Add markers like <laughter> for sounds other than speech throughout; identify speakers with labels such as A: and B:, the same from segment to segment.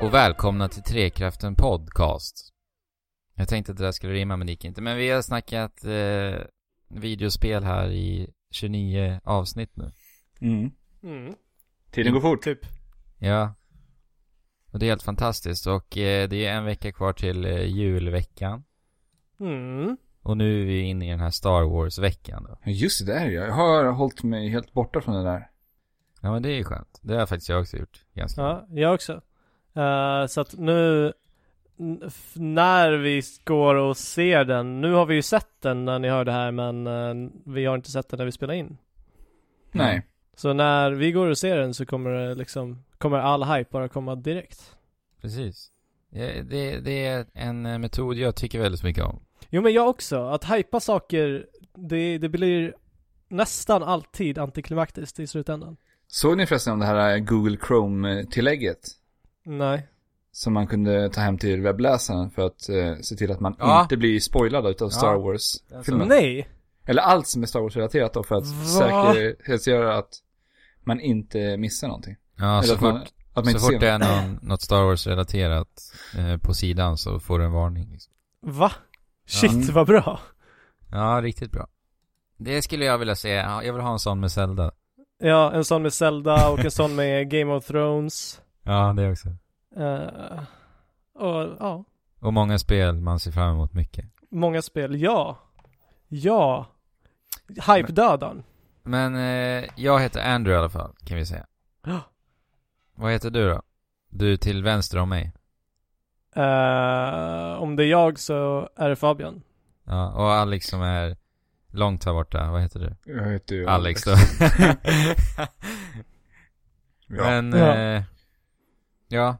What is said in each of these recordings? A: och välkomna till Trekraften Podcast. Jag tänkte att det där skulle rimma men det gick inte. Men vi har snackat eh, videospel här i 29 avsnitt nu.
B: Mm.
C: Mm.
B: Tiden går fort.
C: Typ.
A: Ja. Och det är helt fantastiskt och eh, det är en vecka kvar till eh, julveckan.
C: Mm.
A: Och nu är vi inne i den här Star Wars-veckan då.
B: Ja, Just det, där jag. Jag har hållit mig helt borta från det
A: Mm.
B: där.
A: Ja men det är ju skönt. Det har faktiskt jag också gjort. Ganska.
C: Ja, jag också. Eh, så att nu, n- f- när vi går och ser den, nu har vi ju sett den när ni hör det här men eh, vi har inte sett den när vi spelar in.
B: Nej.
C: Så när vi går och ser den så kommer det liksom, kommer all hype bara komma direkt.
A: Precis. Det, det, det är en eh, metod jag tycker väldigt mycket om.
C: Jo men jag också, att hypa saker, det, det blir nästan alltid antiklimaktiskt i slutändan.
B: Såg ni förresten om det här Google Chrome-tillägget?
C: Nej.
B: Som man kunde ta hem till webbläsaren för att eh, se till att man
A: Ja.
B: inte blir spoilad utav Star
A: Ja.
B: Wars-filmen.
C: Nej!
B: Eller allt som är Star Wars-relaterat då för att
C: Va?
B: säkerhetsgöra att man inte missar någonting.
A: Ja,
B: Eller
A: så
B: att
A: fort,
B: man, att man
A: så
B: inte ser
A: fort det
B: det.
A: är någon, något Star Wars-relaterat eh, på sidan så får du en varning. Liksom.
C: Va? Shit
B: Ja.
C: vad bra!
A: Ja, riktigt bra. Det skulle jag vilja se. Ja, Jag vill ha en sån med Zelda.
C: Ja, en sån med Zelda och en sån med Game of Thrones.
A: Ja, det också.
C: Eh, och ja,
A: Och många spel man ser fram emot mycket.
C: många spel. Ja. Ja. Hype-dödaren.
A: Men eh, jag heter Andrew i alla fall, kan vi säga.
C: Ja.
A: Vad heter du då? Du till vänster om mig.
C: Eh, om det är jag så är det Fabian.
A: Ja, och Alex som är långt här borta, vad heter du?
B: Jag heter ju
A: Alex <laughs> då.
B: Ja.
A: Men,
C: Ja.
A: Eh, ja.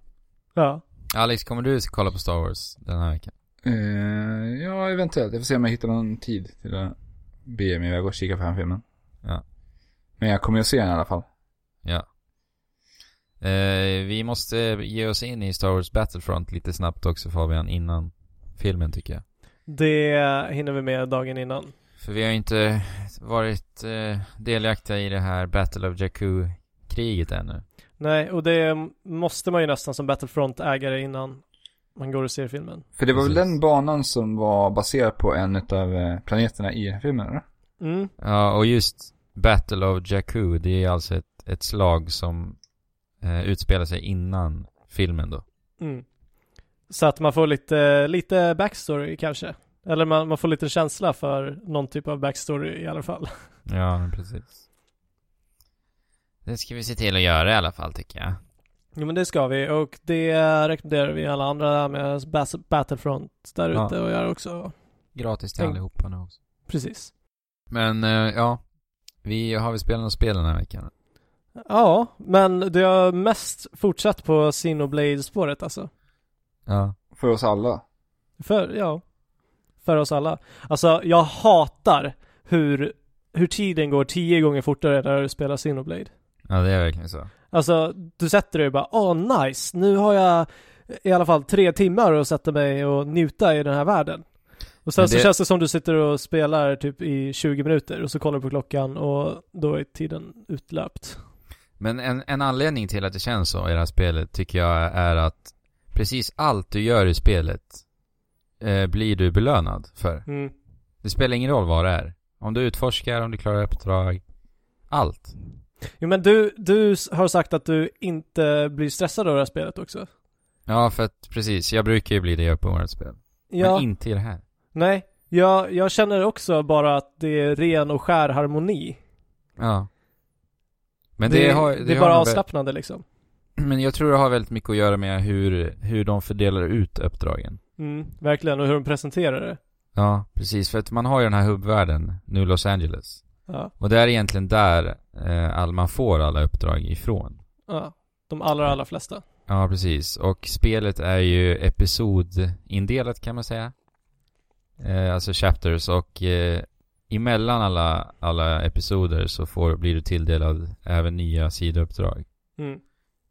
C: Ja.
A: Alex, kommer du kolla på Star Wars den här veckan?
B: Eh, ja, eventuellt. Jag får se om jag hittar någon tid till att be mig iväg och kika på den här filmen.
A: Ja.
B: Men jag kommer ju att se den i alla fall.
A: Eh, vi måste ge oss in i Star Wars Battlefront lite snabbt också Fabian, innan filmen tycker jag.
C: Det hinner vi med dagen innan.
A: För vi har ju inte varit eh, delaktiga i det här Battle of Jakku-kriget ännu.
C: Nej, och det måste man ju nästan som Battlefront-ägare innan man går och ser filmen.
B: För det var väl
A: Precis.
B: den banan som var baserad på en av planeterna i den här filmen, eller?
C: Mm.
A: Ja, och just Battle of Jakku, det är alltså ett, ett slag som eh, utspelar sig innan filmen då.
C: Mm. Så att man får lite, lite backstory kanske. Eller man, man får lite känsla för någon typ av backstory i alla fall.
A: Ja, precis. Det ska vi se till att göra i alla fall tycker jag.
C: Jo men det ska vi och det rekommenderar vi alla andra med Bas- Battlefront där
A: Ja.
C: ute och göra också.
A: Gratis till
C: Tänk-
A: allihopa nu också.
C: Precis.
A: Men eh, ja, vi har vi spelat något spel den här veckan?
C: Ja, men det har mest fortsatt på Xenoblade-spåret alltså.
A: Ja.
B: För oss alla.
C: För, ja. För oss alla. Alltså jag hatar hur, hur tiden går tio gånger fortare när du spelar Xenoblade.
A: Ja, det är verkligen så.
C: Alltså, du sätter dig och bara åh nice, nu har jag i alla fall tre timmar att sätta mig och njuta i den här världen. Och sen
A: Men
C: så
A: det-
C: känns det som du sitter och spelar typ i 20 minuter och så kollar du på klockan och då är tiden utlöpt.
A: Men en, en anledning till att det känns så i det här spelet tycker jag är att precis allt du gör i spelet eh, blir du belönad för.
C: Mm.
A: Det spelar ingen roll vad det är. Om du utforskar, om du klarar uppdrag. Allt.
C: Jo men du, du s- har sagt att du inte blir stressad av det här spelet också.
A: Ja, för att precis. Jag brukar ju bli det i öppen världsspel.
C: Ja,
A: Men inte i det här.
C: nej. Jag, jag känner också bara att det är ren och skär harmoni.
A: Ja. Men det, har...
C: det, är
A: har
C: bara
A: nog vä-
C: avslappnande liksom.
A: <clears throat> Men jag tror det har väldigt mycket att göra med hur, hur de fördelar ut uppdragen.
C: Mm, verkligen, och hur de presenterar det.
A: Ja, precis. För att man har ju den här hubbvärlden, nu Los Angeles.
C: Ja,
A: Och det är egentligen där eh, all, man får alla uppdrag ifrån.
C: ja. De allra, allra flesta.
A: Ja, precis. Och spelet är ju episodindelat kan man säga. Eh, alltså chapters och eh, emellan alla, alla episoder så får, blir du tilldelad även nya sidouppdrag.
C: Mm.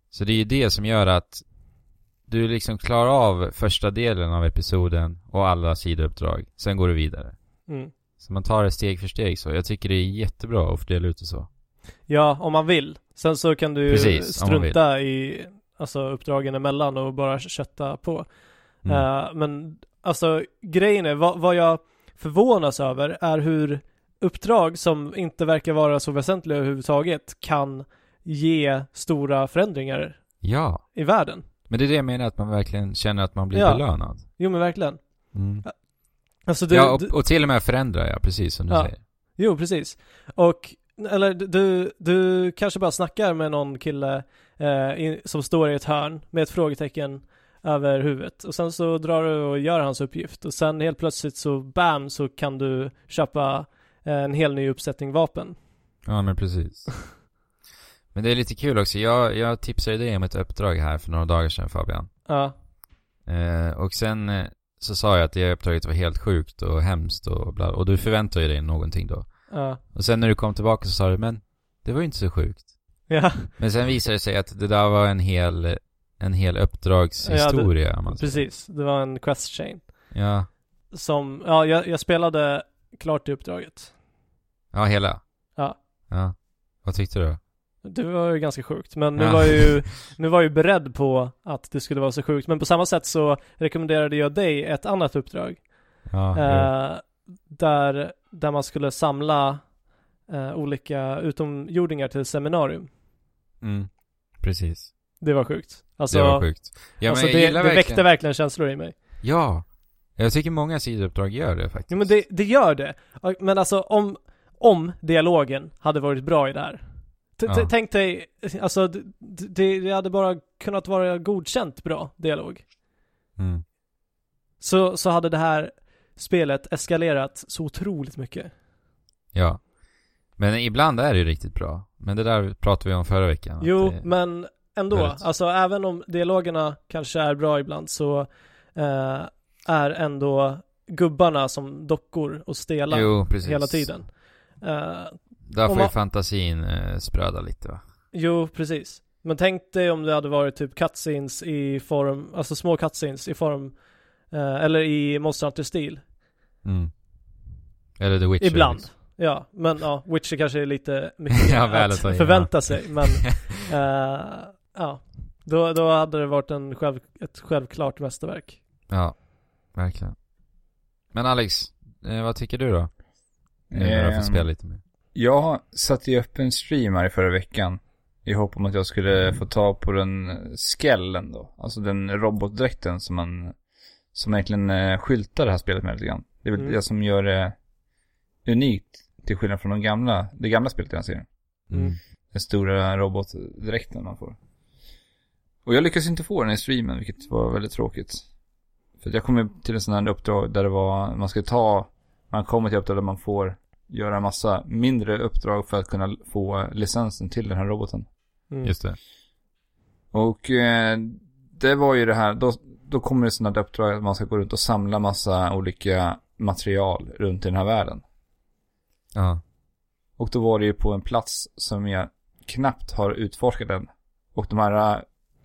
A: Så det är ju det som gör att du liksom klarar av första delen av episoden och alla sidouppdrag. Sen går du vidare.
C: Mm.
A: Så man tar det steg för steg så. Jag tycker det är jättebra att fördela ut det så.
C: Ja, om man vill. Sen så kan du
A: Precis, om man
C: strunta i alltså uppdragen emellan och bara kötta på.
A: Mm.
C: Eh, men alltså grejen är, vad, vad jag förvånas över är hur uppdrag som inte verkar vara så väsentliga överhuvudtaget kan ge stora förändringar
A: Ja,
C: i världen.
A: men det är det jag menar att man verkligen känner att man blir
C: Ja.
A: belönad.
C: Jo men verkligen.
A: Mm.
C: Alltså du,
A: ja,
C: du,
A: och, och till och med förändrar jag, precis som du
C: Ja.
A: säger.
C: jo precis. Och, eller du, du kanske bara snackar med någon kille eh, i, som står i ett hörn med ett frågetecken över huvudet. Och sen så drar du och gör hans uppgift. Och sen helt plötsligt så bam så kan du köpa eh, en hel ny uppsättning vapen.
A: Ja, men precis. Men det är lite kul också. Jag, jag tipsade dig om ett uppdrag här för några dagar sedan Fabian.
C: Ja,
A: Eh, och sen eh, så sa jag att det uppdraget var helt sjukt och hemskt och bla, och du förväntade ju dig någonting då.
C: ja,
A: Och sen när du kom tillbaka så sa du, men det var ju inte så sjukt.
C: ja. <laughs>
A: Men sen visade det sig att det där var en hel, en hel uppdragshistoria. om man säger.
C: Precis, det var en quest chain.
A: Ja.
C: Som, ja jag, jag spelade klart i uppdraget.
A: ja, hela.
C: Ja.
A: ja. Vad tyckte du?
C: Det var ju ganska sjukt, men nu
A: Ja.
C: var jag
A: <laughs>
C: ju, nu var jag ju beredd på att det skulle vara så sjukt. Men på samma sätt så rekommenderade jag dig ett annat uppdrag.
A: Ja, jo.
C: eh, där, där man skulle samla eh, olika utomjordingar till seminarium.
A: mm. Precis.
C: Det var sjukt. Alltså,
A: det var sjukt. Ja,
C: alltså
A: men
C: det,
A: jag
C: det
A: gillar
C: väckte
A: verkligen.
C: verkligen känslor i mig.
A: Ja. Jag tycker många sidouppdrag gör det faktiskt.
C: Jo men det, det gör det. Men alltså om, om dialogen hade varit bra i det här. T- t-
A: Ja.
C: Tänk dig, alltså d- d- det, det hade bara kunnat vara godkänt bra dialog.
A: Mm.
C: Så, så hade det här spelet eskalerat så otroligt mycket.
A: Ja. Men ibland är det ju riktigt bra. Men det där pratade vi om förra veckan. att
C: jo,
A: det...
C: men ändå.
A: väldigt-
C: Alltså även om dialogerna kanske är bra ibland så eh, är ändå gubbarna som dockor och stela
A: jo, precis.
C: hela tiden. Eh,
A: Där
C: Om
A: får
C: man-
A: ju fantasin eh, spröda lite va?
C: Jo, precis. Men tänk dig om det hade varit typ cutscenes i form, alltså små cutscenes i form, eh, eller i Monster Hunter-stil.
A: Mm. Eller The Witcher.
C: Ibland.
A: liksom.
C: Ja, men ja, Witcher kanske är lite mycket
A: <laughs> Ja, väl
C: att
A: att ta in,
C: förvänta sig,
A: <laughs>
C: men eh, ja. Då, då hade det varit en själv, ett självklart mästerverk.
A: Ja, verkligen. Men Alex, eh, vad tycker du då? Nu när du har
B: Ehm,
A: fått spela lite mer.
B: Jag satte ju upp en stream här i förra veckan. I hopp om att jag skulle få ta på den skällen då. Alltså den robotdräkten som man... Som egentligen eh, skyltar det här spelet med lite grann. Det är väl
C: Mm.
B: det som gör det unikt. Till skillnad från de gamla, det gamla spelet i den här serien.
A: Mm.
C: mm.
B: Den stora robotdräkten man får. Och jag lyckades inte få den i streamen, vilket var väldigt tråkigt. För att jag kom ju till en sån här uppdrag där det var, man ska ta, man kommer till uppdrag där man får göra en massa mindre uppdrag för att kunna få licensen till den här roboten.
C: Mm.
A: Just det.
B: Och eh, det var ju det här, då, då kommer det sådana där uppdrag att man ska gå runt och samla massa olika material runt i den här världen.
A: Ja.
B: Och då var det ju på en plats som jag knappt har utforskat än. Och de här äh,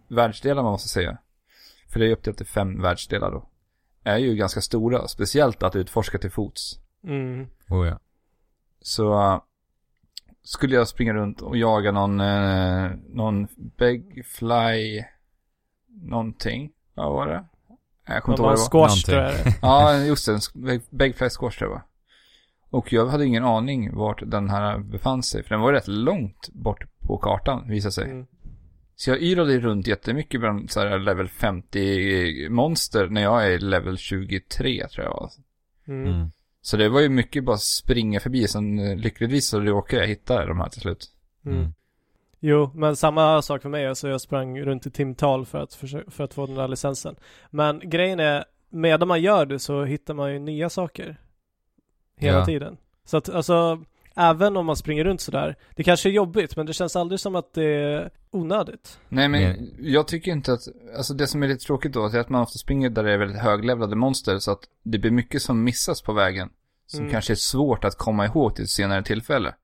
B: världsdelarna man måste säga, för det är upp till fem världsdelar då, är ju ganska stora. Speciellt att utforska till fots.
C: Mm.
A: Oh, ja.
B: Så äh, skulle jag springa runt och jaga någon, eh, någon bagfly någonting. Vad var det? Äh, Jag kommer
C: Man
B: inte ihåg vad det var.
C: bara squash tror jag
A: Någonting.
C: det är.
B: Ja, just det. en sk- bag- Bagfly squash tror jag det var. Och jag hade ingen aning vart den här befann sig. För den var ju rätt långt bort på kartan, visade sig.
C: Mm.
B: Så jag yrade runt jättemycket bland så här level 50-monster när jag är level 23 tror jag var.
C: Mm.
A: Mm.
B: Så det var ju mycket bara springa förbi. Sen eh, lyckligtvis så råkade jag hitta de här till slut.
C: Mm.
A: Mm.
C: Jo, men samma sak för mig. Alltså jag sprang runt i timtal för att, försöka, för att få den där licensen. Men grejen är, medan man gör det så hittar man ju nya saker. Hela
A: Ja.
C: tiden. Så att alltså, även om man springer runt sådär, det kanske är jobbigt, men det känns aldrig som att det är onödigt.
B: Nej men
A: Nej.
B: jag tycker inte att, alltså det som är lite tråkigt då är att man ofta springer där det är väldigt höglevlade monster så att det blir mycket som missas på vägen. Som
C: Mm.
B: kanske är svårt att komma ihåg till ett senare tillfälle.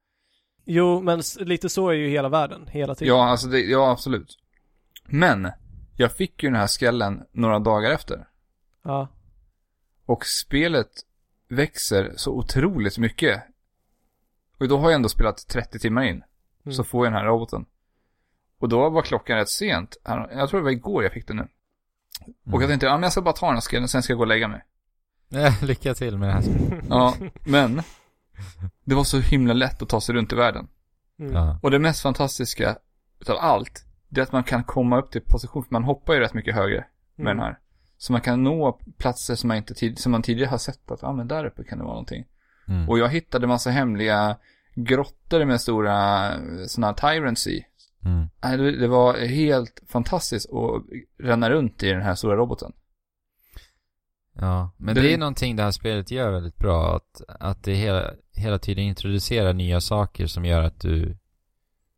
C: Jo, men s- lite så är ju hela världen, hela tiden.
B: Ja, alltså det, ja absolut. Men, jag fick ju den här skallen några dagar efter.
C: Ja.
B: Och spelet växer så otroligt mycket. Och då har jag ändå spelat 30 timmar in.
C: Mm.
B: Så får jag den här roboten. Och då var klockan rätt sent. här- Jag tror det var igår jag fick den nu. Och
C: Mm.
B: jag tänkte, ja men jag ska bara ta den här skallen, sen ska jag gå och lägga mig.
A: mm. <laughs> Lycka till med det här spelet.
C: Mm.
B: Ja, men. Det var så himla lätt att ta sig runt i världen.
C: Mm.
A: Ja.
B: Och det mest fantastiska utav allt, det är att man kan komma upp till position, för man hoppar ju rätt mycket högre med
C: Mm.
B: den här. Så man kan nå platser som man, inte tid, som man tidigare har sett att, ja ah, men där uppe kan det vara någonting.
A: Mm.
B: Och jag hittade massa hemliga grottor med stora sådana här tyrants i.
A: Mm.
B: Nej, Det det var helt fantastiskt att ränna runt i den här stora roboten.
A: Ja, men
B: Det-
A: det, är någonting det här spelet gör väldigt bra. Att, att det hela, hela tiden introducerar nya saker som gör att du,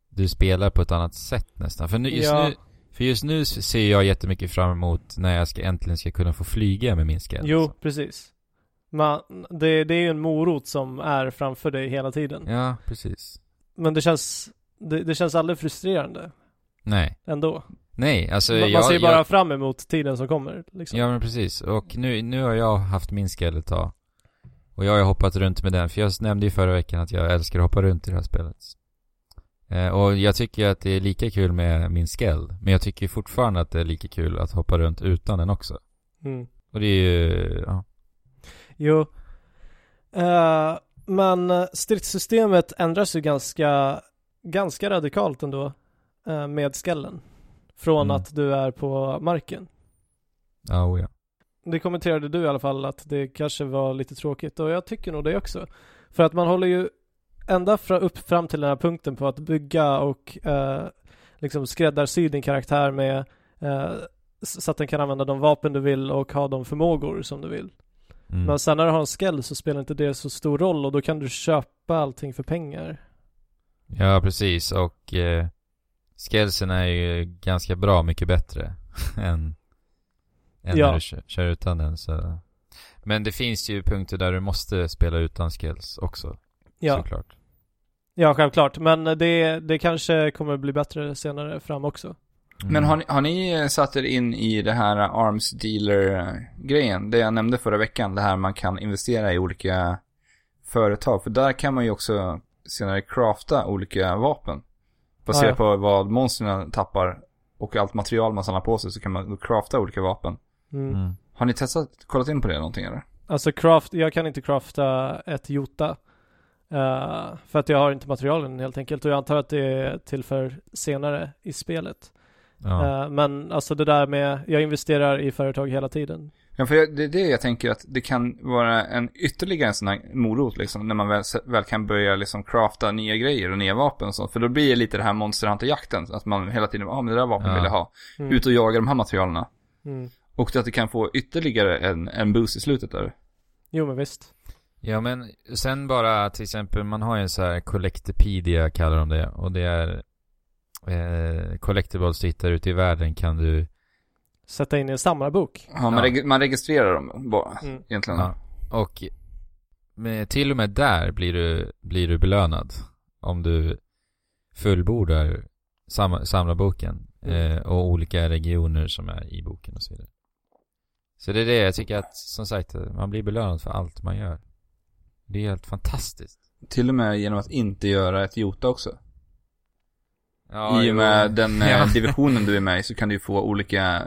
A: du spelar på ett annat sätt nästan. För, nu, just
C: Ja.
A: nu, för just nu s- ser jag jättemycket fram emot när jag ska, äntligen ska kunna få flyga med min skräll.
C: Jo, precis. Man, det, det är ju en morot som är framför dig hela tiden.
A: Ja, precis.
C: Men det känns, det, det känns aldrig frustrerande
A: Nej.
C: ändå.
A: Nej, alltså
C: man, man
A: jag...
C: ser ju bara
A: jag,
C: fram emot tiden som kommer. Liksom.
A: ja, men precis. Och nu, nu har jag haft min skräll ett tag. Och jag har ju hoppat runt med den. För jag nämnde ju förra veckan att jag älskar att hoppa runt i det här spelet. Eh, och jag tycker ju att det är lika kul med min skräll. Men jag tycker ju fortfarande att det är lika kul att hoppa runt utan den också.
C: Mm.
A: Och det är ju... Ja.
C: Jo. Eh, men eh, stridssystemet ändras ju ganska, ganska radikalt ändå eh, med skallen. Från
A: Mm.
C: att du är på marken.
A: Ja, oh, ja.
C: Det kommenterade du i alla fall att det kanske var lite tråkigt och jag tycker nog det också. För att man håller ju ända fra, upp fram till den här punkten på att bygga och eh, liksom skräddarsy din karaktär med eh, s- så att den kan använda de vapen du vill och ha de förmågor som du vill.
A: Mm.
C: Men sen när du har en skell så spelar inte det så stor roll och då kan du köpa allting för pengar.
A: Ja, precis. Och eh, skrällsen är ju ganska bra mycket bättre <laughs> än, än
C: Ja.
A: när du kö- kör utan den. Så. Men det finns ju punkter där du måste spela utan skälls också,
C: Ja,
A: såklart.
C: ja självklart. Men det, det kanske kommer bli bättre senare fram också.
A: Mm.
B: Men har ni, har ni eh, satt er in i det här eh, arms dealer-grejen? Det jag nämnde förra veckan, det här man kan investera i olika företag. För där kan man ju också senare crafta olika vapen. Baserat
C: Ah, ja.
B: på vad monstren tappar och allt material man samlar på sig så kan man då crafta olika vapen.
C: Mm.
A: Mm.
B: Har ni testat, kollat in på det någonting eller?
C: Alltså craft, jag kan inte crafta ett jota. eh, för att jag har inte materialen helt enkelt och jag antar att det är till för senare i spelet.
A: Ja.
C: Eh, men alltså det där med, jag investerar i företag hela tiden.
B: Ja, för jag- det är det jag tänker att det kan vara en ytterligare en sån här morot liksom. När man väl, väl kan börja liksom crafta nya grejer och nya vapen och sånt. För då blir det lite det här Monster Hunter-jakten. Att man hela tiden, ja ah, men det där vapen
A: Ja.
B: vill jag ha.
C: Mm.
B: Ut och jaga de här materialen.
C: Mm.
B: Och att det kan få ytterligare en, en boost i slutet där.
C: Jo men visst.
A: ja, men sen bara till exempel, man har ju en så här collectopedia kallar de det. Och det är eh, collectibles du hittar ute i världen kan du...
C: Sätta in i en samlarbok.
B: Ja, man,
A: Ja.
B: reg- man registrerar dem bara
C: Mm.
B: egentligen.
A: Ja. Och med, till och med där blir du, blir du belönad. Om du fullbordar sam, samlarboken
C: Mm.
A: eh, och olika regioner som är i boken och så vidare. Så det är det, jag tycker att som sagt, man blir belönad för allt man gör. Det är helt fantastiskt.
B: Till och med genom att inte göra ett Jota också.
A: Ja,
B: I och med
A: jo. <laughs>
B: den eh,
A: Ja.
B: divisionen du är med i så kan du ju få olika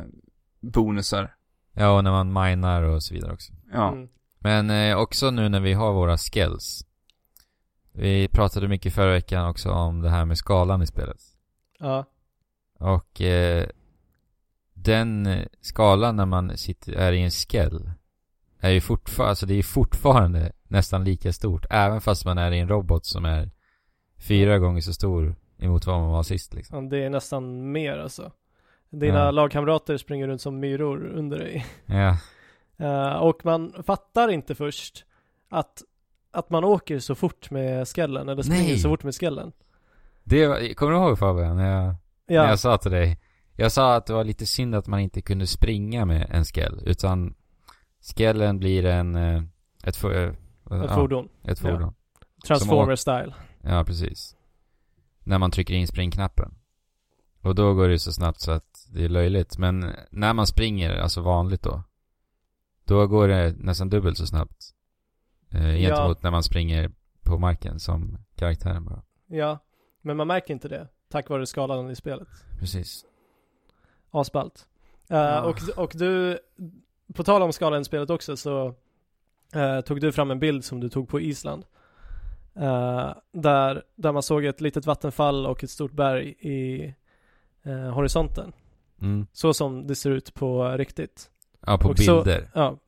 B: bonusar.
A: Ja, och när man minar och så vidare också.
B: Ja.
C: Mm.
A: Men eh, också nu när vi har våra skills. Vi pratade mycket förra veckan också om det här med skalan i spelet.
C: Ja.
A: Och eh, den skalan när man sitter, är i en skell är ju fortfarande, alltså det är fortfarande nästan lika stort. Även fast man är i en robot som är fyra gånger så stor emot vad man var sist liksom.
C: Ja, det är nästan mer alltså. Dina
A: Ja.
C: lagkamrater springer runt som myror under dig. <laughs>
A: Ja,
C: Eh, och man fattar inte först att, att man åker så fort med skallen eller springer
A: Nej.
C: så fort med skallen.
A: det var, kommer du ihåg Fabian? När jag, när
C: Ja,
A: jag sa till dig. Jag sa att det var lite synd att man inte kunde springa med en skell. Utan skellen blir en, eh, ett, fo- eh,
C: ett
A: ja,
C: fordon.
A: ett fordon.
C: Transformer style.
A: Ja, precis. När man trycker in springknappen. Och då går det ju så snabbt så att det är löjligt. Men när man springer, alltså vanligt då, då går det nästan dubbelt så snabbt. Eh,
C: Ja.
A: gentemot när man springer på marken som karaktären bara.
C: Ja, men man märker inte det. Tack vare skalan i spelet.
A: Precis.
C: Asballt. Eh,
B: Ja.
C: och, och du, på tal om skalan i spelet också så eh, tog du fram en bild som du tog på Island. Eh, där, där man såg ett litet vattenfall och ett stort berg i eh, horisonten.
A: Mm.
C: Så som det ser ut på riktigt.
A: Ja, på
C: Och så-
A: bilder.
C: Ja,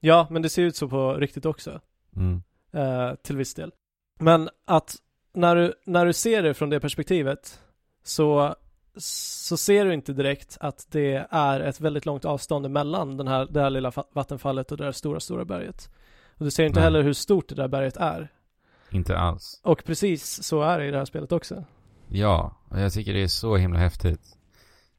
C: ja men det ser ut så på riktigt också.
A: Mm.
C: eh, till viss del. Men att när du, när du ser det från det perspektivet så, så ser du inte direkt att det är ett väldigt långt avstånd mellan den här, det här lilla fa- vattenfallet och det här stora, stora berget. Och du ser inte
A: Nej.
C: heller hur stort det där berget är.
A: Inte alls.
C: Och precis så är det i det här spelet också.
A: Ja, och jag tycker det är så himla häftigt.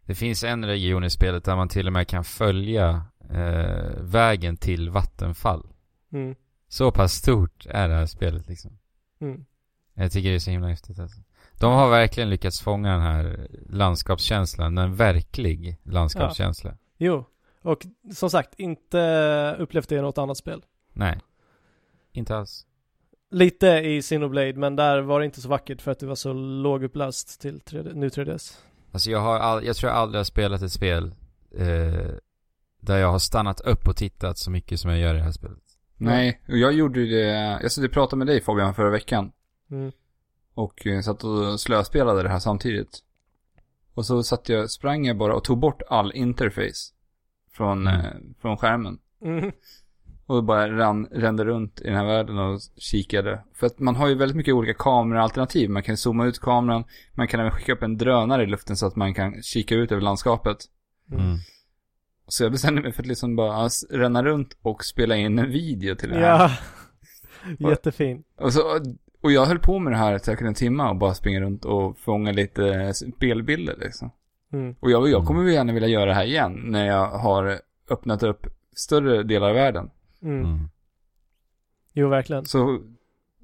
A: Det finns en region i spelet där man till och med kan följa eh, vägen till vattenfall.
C: Mm.
A: Så pass stort är det här spelet liksom.
C: Mm.
A: Jag tycker det är så himla häftigt alltså. De har verkligen lyckats fånga den här landskapskänslan, en verklig landskapskänsla.
C: Jo, och som sagt, inte upplevt det i något annat spel.
A: Nej, inte alls.
C: Lite i Sinoblade, men där var det inte så vackert för att det var så lågupplöst till 3D, nu 3DS.
A: Alltså jag har all, jag tror jag aldrig har spelat ett spel eh, där jag har stannat upp och tittat så mycket som jag gör i det här spelet.
B: Nej, och jag gjorde ju det, jag satt och pratade med dig Fabian förra veckan.
C: Mm.
B: Och eh, satt och slöspelade det här samtidigt. Och så satt jag, sprang jag bara och tog bort all interface. Från,
A: Mm.
B: eh, från skärmen.
C: Mm.
B: Och bara rann, rände runt i den här världen och kikade. För att man har ju väldigt mycket olika kameraalternativ. Man kan zooma ut kameran. Man kan även skicka upp en drönare i luften så att man kan kika ut över landskapet.
A: Mm.
B: Så jag bestämde mig för att liksom bara s- ränna runt och spela in en video till det här.
C: Ja. <laughs> Jättefin.
B: Och, så, Alltså, och jag höll på med det här säkert en timme och bara springa runt och fånga lite spelbilder liksom.
C: Mm.
B: Och jag, jag kommer väl gärna vilja göra det här igen när jag har öppnat upp större delar av världen.
C: Mm.
A: Mm.
C: Jo, verkligen.
B: Så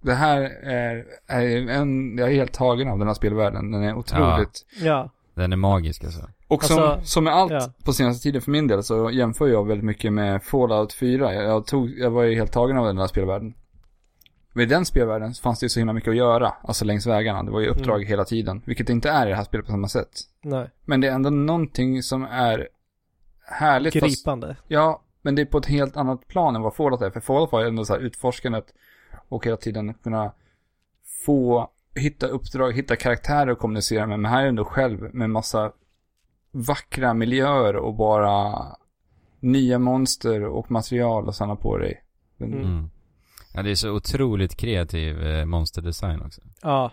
B: det här är, är en, jag är helt tagen av den här spelvärlden. Den är otroligt.
C: Ja.
A: Den är magisk alltså.
B: Och som,
C: Alltså,
B: som med allt
C: ja.
B: på senaste tiden för min del så jämför jag väldigt mycket med Fallout 4. Jag, jag, tog, jag var ju helt tagen av den där spelvärlden. Med den spelvärlden så fanns det ju så himla mycket att göra, alltså längs vägarna. Det var ju uppdrag
C: Mm.
B: hela tiden, vilket det inte är i det här spelet på samma sätt.
C: Nej.
B: Men det är ändå någonting som är härligt. Fast,
C: Gripande.
B: ja, men det är på ett helt annat plan än vad Fallout är. För Fallout var ju ändå så här utforskandet och hela tiden kunna få hitta uppdrag, hitta karaktärer att kommunicera med. Men här är ändå själv med massa vackra miljöer och bara nya monster och material att samla på dig. Men,
C: Mm.
A: Mm. Ja, det är så otroligt kreativ eh, monsterdesign också.
C: Ja.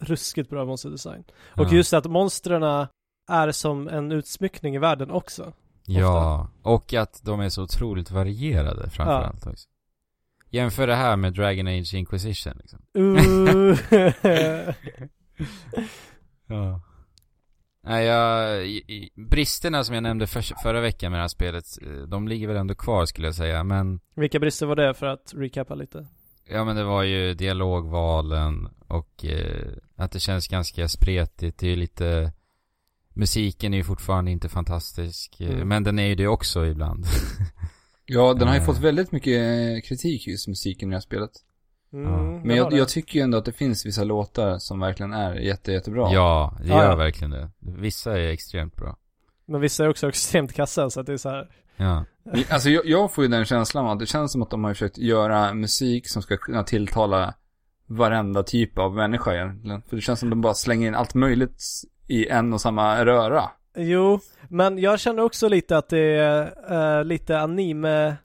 C: Ruskigt bra monsterdesign. Och
A: ja.
C: just att monstren är som en utsmyckning i världen också.
A: Ja, och att de är så otroligt varierade framförallt också. Jämför det här med Dragon Age Inquisition liksom.
C: Uh.
A: Ja. Nej, jag, i, i, bristerna som jag nämnde för, förra veckan med det här spelet, eh, de ligger väl ändå kvar skulle jag säga, men
C: Vilka brister var det för att recappa lite?
A: Ja men det var ju dialogvalen och eh, att det känns ganska spretigt. Det är ju lite Musiken är ju fortfarande inte fantastisk. eh,
C: Mm.
A: Men den är ju det också ibland.
B: Ja, den har ju
A: Eh.
B: fått väldigt mycket eh, kritik just musiken i det här spelet.
C: Mm,
A: Ja.
C: vad
B: Men
C: var
B: jag,
C: det?
B: jag tycker ju ändå att det finns vissa låtar som verkligen är jätte, jättebra.
A: Ja, det
C: Ja,
A: gör
C: ja.
A: verkligen det. Vissa är extremt bra.
C: Men vissa är också <laughs> extremt kassa så att det är så här.
A: Ja.
B: Alltså jag, jag får ju den känslan av att det känns som att de har försökt göra musik som ska kunna tilltala varenda typ av människa egentligen. För det känns som att de bara slänger in allt möjligt i en och samma röra.
C: Jo, men jag känner också lite att det är eh, lite anime